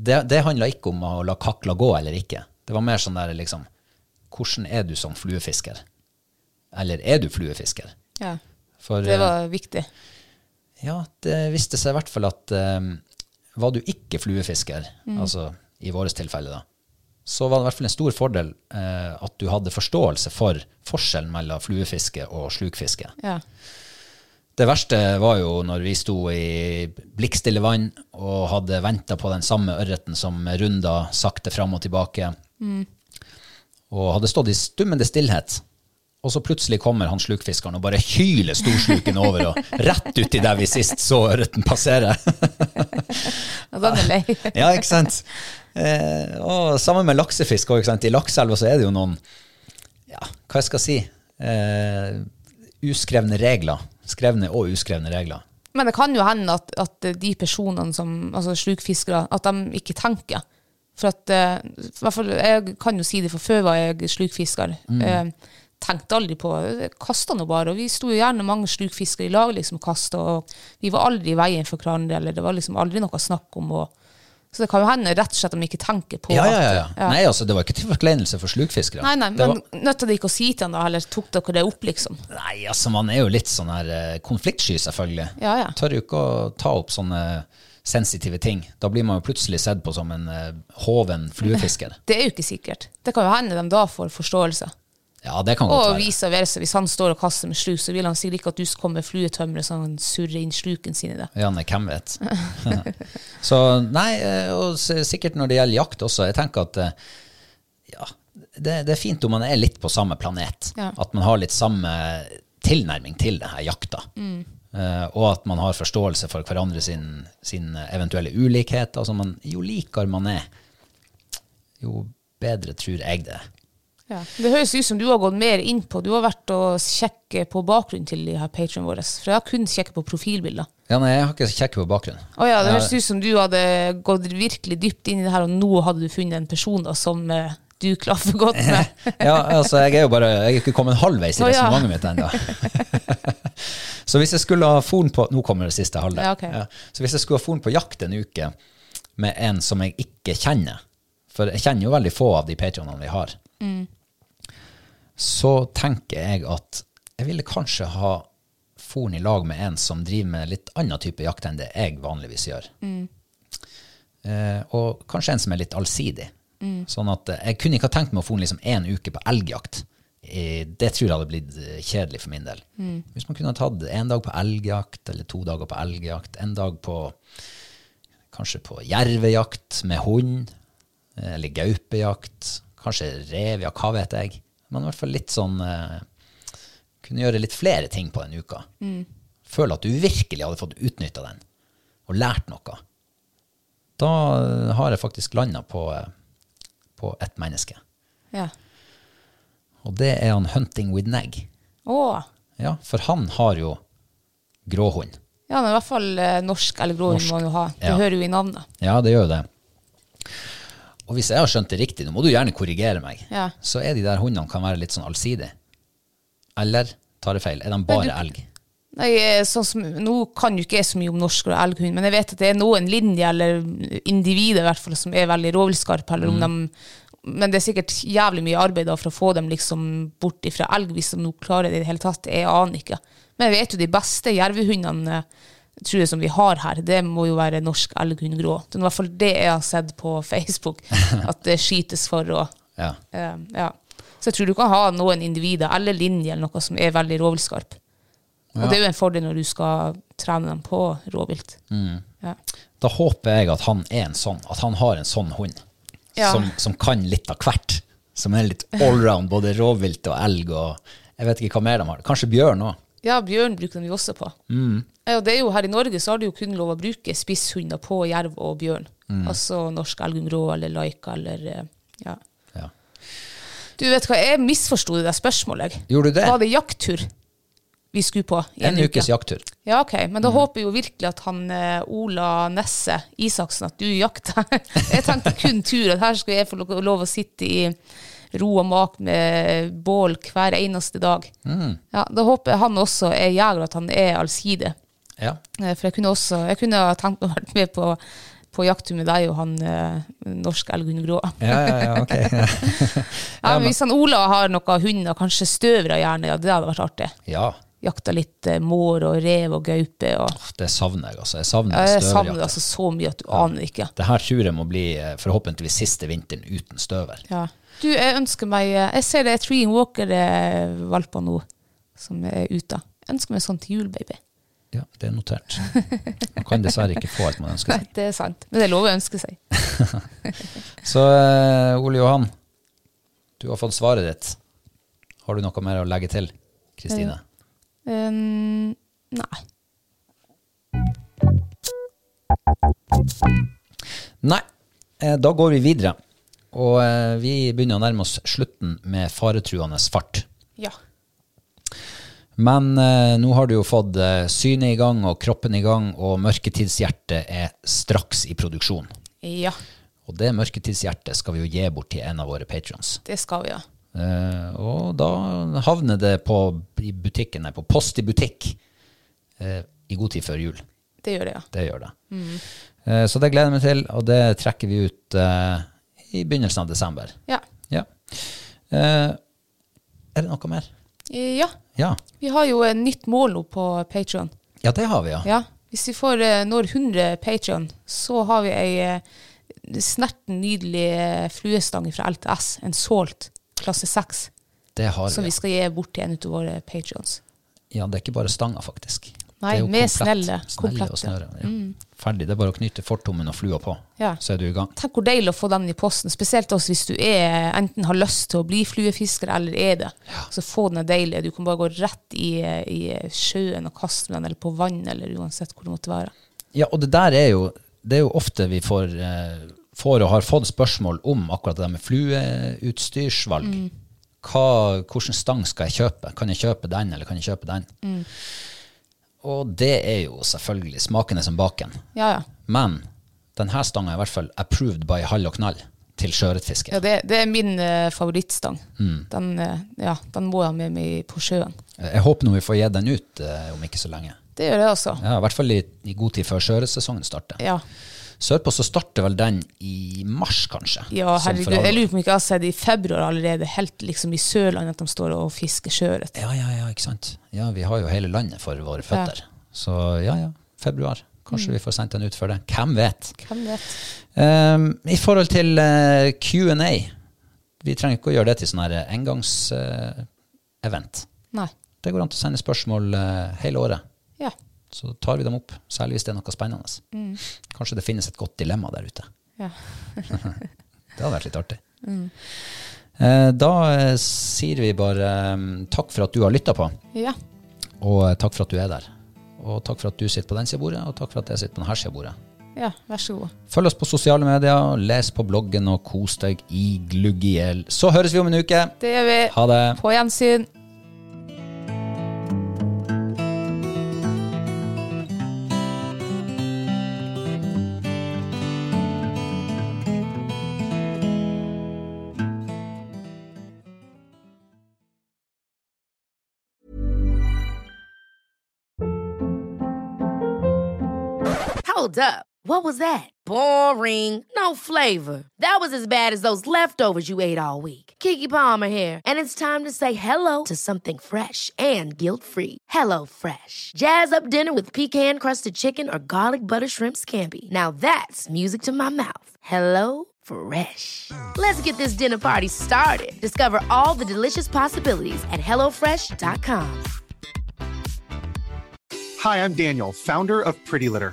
Speaker 1: det det handla ikke om å la kakla gå eller ikke. Det var mer sånn der liksom Hvordan er du som fluefisker? Eller er du fluefisker?
Speaker 2: ja.
Speaker 1: For,
Speaker 2: Det
Speaker 1: eh,
Speaker 2: var viktig.
Speaker 1: ja, det viste seg i hvert fall at eh, var du ikke fluefisker, altså i vårt tilfelle da, så var det i hvert fall en stor fordel eh, at du hadde forståelse for forskjellen mellom fluefiske og slukfiske.
Speaker 2: Ja.
Speaker 1: Det verste var jo når vi sto i blikkstille vann og hadde venta på den samme ørreten som runda sakte fram og tilbake, og hadde stått i stummende stillhet. Og så plutselig kommer han slukfiskeren og bare hyler storsluken over og rett uti der vi sist så ørreten passere. [laughs]
Speaker 2: Ja, den er lei.
Speaker 1: Ja, ikke sant? Eh, og sammen med laksefisk, også, ikke sant? i lakseelva så er det jo noen, ja, hva jeg skal si, eh, uskrevne regler. Skrevne og uskrevne regler.
Speaker 2: Men det kan jo hende at, at de personene som altså slukfiskere, at de ikke tenker. For at, eh, i hvert fall, Jeg kan jo si det, for før var jeg slukfisker.
Speaker 1: Mm.
Speaker 2: Eh, tenkte aldri på Kasta nå bare. Og vi sto jo gjerne mange slukfiskere i lag liksom, og kasta, og vi var aldri i veien for hverandre. eller Det var liksom aldri noe snakk om og, Så det kan jo hende rett og slett at de ikke tenker på
Speaker 1: Ja, ja,
Speaker 2: at-
Speaker 1: ja, ja. Nei, altså, det var ikke til forkleinelse for slukfiskere.
Speaker 2: Nei, nei,
Speaker 1: Det
Speaker 2: men
Speaker 1: var,
Speaker 2: nødte de ikke å si til han da, eller tok dere det opp, liksom?
Speaker 1: nei, altså, man er jo litt sånn her eh, konfliktsky, selvfølgelig.
Speaker 2: Ja, ja.
Speaker 1: Tør jo ikke å ta opp sånne sensitive ting. Da blir man jo plutselig sett på som en eh, hoven
Speaker 2: [laughs]
Speaker 1: fluefisker.
Speaker 2: Det er jo ikke sikkert. Det kan jo hende de da får forståelse.
Speaker 1: Ja, det kan godt
Speaker 2: Og
Speaker 1: være.
Speaker 2: vice versa. Hvis han står og kaster med sluk, så vil han sikkert ikke at du skal komme med fluetømmeret så han surrer inn sluken sin i det.
Speaker 1: Ja, nei, hvem vet. [laughs] så nei, eh, og s- sikkert når det gjelder jakt også, jeg tenker at eh, ja, det, det er fint om man er litt på samme planet.
Speaker 2: Ja.
Speaker 1: At man har litt samme tilnærming til denne jakta. Eh, og at man har forståelse for hverandre sin, sin eventuelle ulikhet. Altså man, jo likere man er, jo bedre tror jeg det. er.
Speaker 2: Det høres ut som du har gått mer inn på. Du har vært og sjekket på bakgrunnen til de her patronene våre. For jeg har kun sjekket på profilbilder.
Speaker 1: Ja, nei, jeg har ikke sjekket på bakgrunnen.
Speaker 2: Å ja, det høres ut som du hadde gått virkelig dypt inn i det her, og nå hadde du funnet en person da som eh, du klaffer godt [laughs] med.
Speaker 1: [laughs] ja, altså jeg er jo bare Jeg er ikke kommet halvveis i
Speaker 2: Å, ja.
Speaker 1: resonnementet mitt
Speaker 2: [laughs]
Speaker 1: ennå. så hvis jeg skulle ha foren på Nå kommer det siste halvdel.
Speaker 2: Ja, ok.
Speaker 1: Så hvis jeg skulle ha foren på jakt en uke med en som jeg ikke kjenner for jeg kjenner jo veldig få av de patronene vi har,
Speaker 2: Mm.
Speaker 1: så tenker jeg at jeg ville kanskje ha foren i lag med en som driver med litt annen type jakt enn det jeg vanligvis gjør. Eh, og kanskje en som er litt allsidig. Sånn at eh, Jeg kunne ikke ha tenkt meg å fôre liksom én uke på elgjakt. Eh, Det tror jeg hadde blitt eh, kjedelig for min del. Hvis man kunne ha tatt en dag på elgjakt, eller to dager på elgjakt, en dag på kanskje på jervejakt med hund, eh, eller gaupejakt, kanskje revjakt, hva vet jeg. Men i hvert fall litt sånn eh, Kunne gjøre litt flere ting på den uka. Føle at du virkelig hadde fått utnytta den, og lært noe da eh, har jeg faktisk landa på, eh, på ett menneske.
Speaker 2: Ja.
Speaker 1: Og det er han Hunting with Nag.
Speaker 2: Å.
Speaker 1: Ja, for han har jo gråhund.
Speaker 2: Ja, men i hvert fall eh, norsk eller grå hund må han jo ha. Det
Speaker 1: ja.
Speaker 2: hører jo i navnet.
Speaker 1: Ja, det gjør jo det. Og hvis jeg har skjønt det riktig, nå må du gjerne korrigere meg,
Speaker 2: Ja.
Speaker 1: så er de der hundene kan være litt sånn allsidige. Eller tar jeg feil? Er de bare elg?
Speaker 2: Nei, eh, sånn som, nå kan jo ikke jeg så mye om norsk og elghund, men jeg vet at det er noen linjer, eller individer i hvert fall, som er veldig rovviltskarpe. eller om dem- Men det er sikkert jævlig mye arbeid da, for å få dem liksom bort ifra elg, hvis de nå klarer det i det hele tatt. Jeg aner ikke. Men jeg vet jo de beste jervehundene eh, tror jeg som vi har her, det må jo være norsk elghund grå. Det er i hvert fall det jeg har sett på [laughs] Facebook, at det skytes for å
Speaker 1: Ja.
Speaker 2: Eh, ja. Så jeg tror du kan ha noen individer eller linjer eller noe som er veldig rovviltskarp. Og det er jo en fordel når du skal trene dem på rovvilt.
Speaker 1: Mm.
Speaker 2: Ja.
Speaker 1: Da håper jeg at han er en sånn, at han har en sånn hund.
Speaker 2: Ja.
Speaker 1: Som, som kan litt av hvert. Som er litt allround, både rovvilt og elg og Jeg vet ikke hva mer de har. Kanskje bjørn òg.
Speaker 2: ja, bjørn bruker de jo også på.
Speaker 1: Mm.
Speaker 2: Ja, og det er jo, her i Norge så har du jo kun lov å bruke spisshunder på jerv og bjørn.
Speaker 1: Mm.
Speaker 2: Altså norsk elgumrå eller laika eller eh, ja.
Speaker 1: Ja.
Speaker 2: Du vet hva, jeg misforsto det der spørsmålet. jeg.
Speaker 1: Gjorde du det?
Speaker 2: Var det jakttur vi skulle på? i
Speaker 1: En ukes jakttur.
Speaker 2: Ja, ok. Men da håper jeg jo virkelig at han eh, Ola Nesse Isaksen, at du jakter. [laughs] jeg tenkte kun tur, at her skulle jeg få lo- lov å sitte i ro og mak med bål hver eneste dag. Ja, da håper jeg han også er jeger, at han er allsidig.
Speaker 1: Ja.
Speaker 2: Eh, For jeg kunne også, jeg kunne ha tenkt meg å vært med på, på jakttur med deg og han eh, norsk Elgun Grå.
Speaker 1: Ja, ja, ja, ok.
Speaker 2: [laughs] Ja, men hvis han Ola har noen hunder, kanskje støvere gjerne, ja, det hadde vært artig.
Speaker 1: ja.
Speaker 2: Jakta litt eh, mår og rev og gaupe og
Speaker 1: Åh, Det savner jeg, altså. Jeg savner
Speaker 2: Ja, jeg savner det
Speaker 1: støverjakta.
Speaker 2: altså så mye at du aner ikke.
Speaker 1: Det her tror jeg må bli eh, forhåpentligvis siste vinteren uten støver.
Speaker 2: Du, jeg ønsker meg eh, Jeg ser det er Tree and Walker-valper nå som er ute. Jeg ønsker meg sånn til jul, baby.
Speaker 1: Ja, det er notert. Man kan dessverre ikke få alt man ønsker
Speaker 2: [laughs] Nei,
Speaker 1: seg.
Speaker 2: det er sant. Men det er lov å ønske seg.
Speaker 1: Så eh, Ole Johan, du har fått svaret ditt. Har du noe mer å legge til, Kristine?
Speaker 2: Eh. Um, nei.
Speaker 1: Nei, eh, da går vi videre. Og eh, vi begynner å nærme oss slutten med faretruende fart.
Speaker 2: Ja.
Speaker 1: Men eh, nå har du jo fått eh, synet i gang og kroppen i gang, og mørketidshjertet er straks i produksjon.
Speaker 2: Ja,
Speaker 1: Og det mørketidshjertet skal vi jo gi bort til en av våre patrions.
Speaker 2: det skal vi, ja.
Speaker 1: Eh, og da havner det på, i butikken, nei, på post i butikk eh, i god tid før jul.
Speaker 2: Det gjør det, ja.
Speaker 1: Det gjør det. Eh, så det gleder jeg meg til, og det trekker vi ut eh, i begynnelsen av desember.
Speaker 2: Ja.
Speaker 1: Ja. Eh, er det noe mer?
Speaker 2: ja.
Speaker 1: Ja.
Speaker 2: Vi har jo et nytt mål nå på Patrion.
Speaker 1: Ja, det har vi, ja.
Speaker 2: Ja. Hvis vi får eh, når 100 Patrion, så har vi ei eh, snerten nydelig eh, fluestang fra LTS, en Salt klasse 6,
Speaker 1: Det har
Speaker 2: som
Speaker 1: vi.
Speaker 2: vi skal gi bort til en av våre Patrions.
Speaker 1: Ja, det er ikke bare stanga, faktisk.
Speaker 2: Nei,
Speaker 1: Det er jo
Speaker 2: med
Speaker 1: komplett.
Speaker 2: snelle.
Speaker 1: Snelle
Speaker 2: Komplett,
Speaker 1: og
Speaker 2: ja.
Speaker 1: snøre. Ja. Ferdig. Det er bare å knyte fortommen og flua på,
Speaker 2: Ja.
Speaker 1: så er du i gang.
Speaker 2: Tenk hvor deilig å få den i posten, spesielt også hvis du er, enten har lyst til å bli fluefisker eller er det. Så få den deilig. Du kan bare gå rett i, i sjøen og kaste den, eller på vann, eller uansett hvor det måtte være.
Speaker 1: Ja, og det der er jo, det er jo ofte vi får, eh, får og har fått spørsmål om akkurat det der med flueutstyrsvalg.
Speaker 2: Mm.
Speaker 1: Hva, hvordan stang skal jeg kjøpe? Kan jeg kjøpe den, eller kan jeg kjøpe den?
Speaker 2: Mm.
Speaker 1: Og det er jo selvfølgelig smakende som baken.
Speaker 2: Ja, ja.
Speaker 1: Men denne stanga er i hvert fall approved by hall og knall til sjøørretfiske.
Speaker 2: ja det, det er min eh, favorittstang.
Speaker 1: Mm.
Speaker 2: Den, eh, ja, den må jeg ha med meg på sjøen.
Speaker 1: Jeg håper nå vi får gitt den ut eh, om ikke så lenge.
Speaker 2: Det gjør jeg også.
Speaker 1: Ja, I hvert fall i, i god tid før sjøørretsesongen starter.
Speaker 2: Ja.
Speaker 1: Sørpå så starter vel den i mars, kanskje?
Speaker 2: Ja,
Speaker 1: som for
Speaker 2: herregud. Jeg
Speaker 1: alvor.
Speaker 2: lurer på om ikke jeg har sett i februar allerede, helt liksom i Sørland, at de står og fisker sjøørret.
Speaker 1: Ja, ja, ja, ikke sant. Ja, vi har jo hele landet for våre føtter. Så ja, ja, februar.
Speaker 2: Mm.
Speaker 1: Kanskje vi får sendt den ut før det. Hvem vet?
Speaker 2: Hvem vet?
Speaker 1: Ehm, I forhold til eh, Q&A, vi trenger ikke å gjøre det til sånn her engangsevent.
Speaker 2: Nei.
Speaker 1: det går an til å sende spørsmål eh, hele året.
Speaker 2: Ja.
Speaker 1: Så tar vi dem opp, særlig hvis det er noe spennende.
Speaker 2: Mm.
Speaker 1: Kanskje det finnes et godt dilemma der ute.
Speaker 2: ja.
Speaker 1: [laughs] Det hadde vært litt artig. Eh, Da eh, sier vi bare eh, takk for at du har lytta på,
Speaker 2: Ja.
Speaker 1: og eh, takk for at du er der. Og takk for at du sitter på den sida av bordet, og takk for at jeg sitter på denne sida av bordet.
Speaker 2: ja. Vær så god.
Speaker 1: Følg oss på sosiale medier, les på bloggen og kos deg i glugg i hjel. Så høres vi om en uke.
Speaker 2: Det gjør vi.
Speaker 1: Ha det.
Speaker 2: På gjensyn.
Speaker 3: Hold up. What was that? Boring. No flavor. That was as bad as those leftovers you ate all week. Kiki Palmer here, and it's time to say hello to something fresh and guilt-free. Hello Fresh. Jazz up dinner with pecan-crusted chicken or garlic butter shrimp scampi. Now that's music to my mouth. Hello Fresh. Let's get this dinner party started. Discover all the delicious possibilities at hellofresh.com.
Speaker 4: Hi, I'm Daniel, founder of Pretty Litter.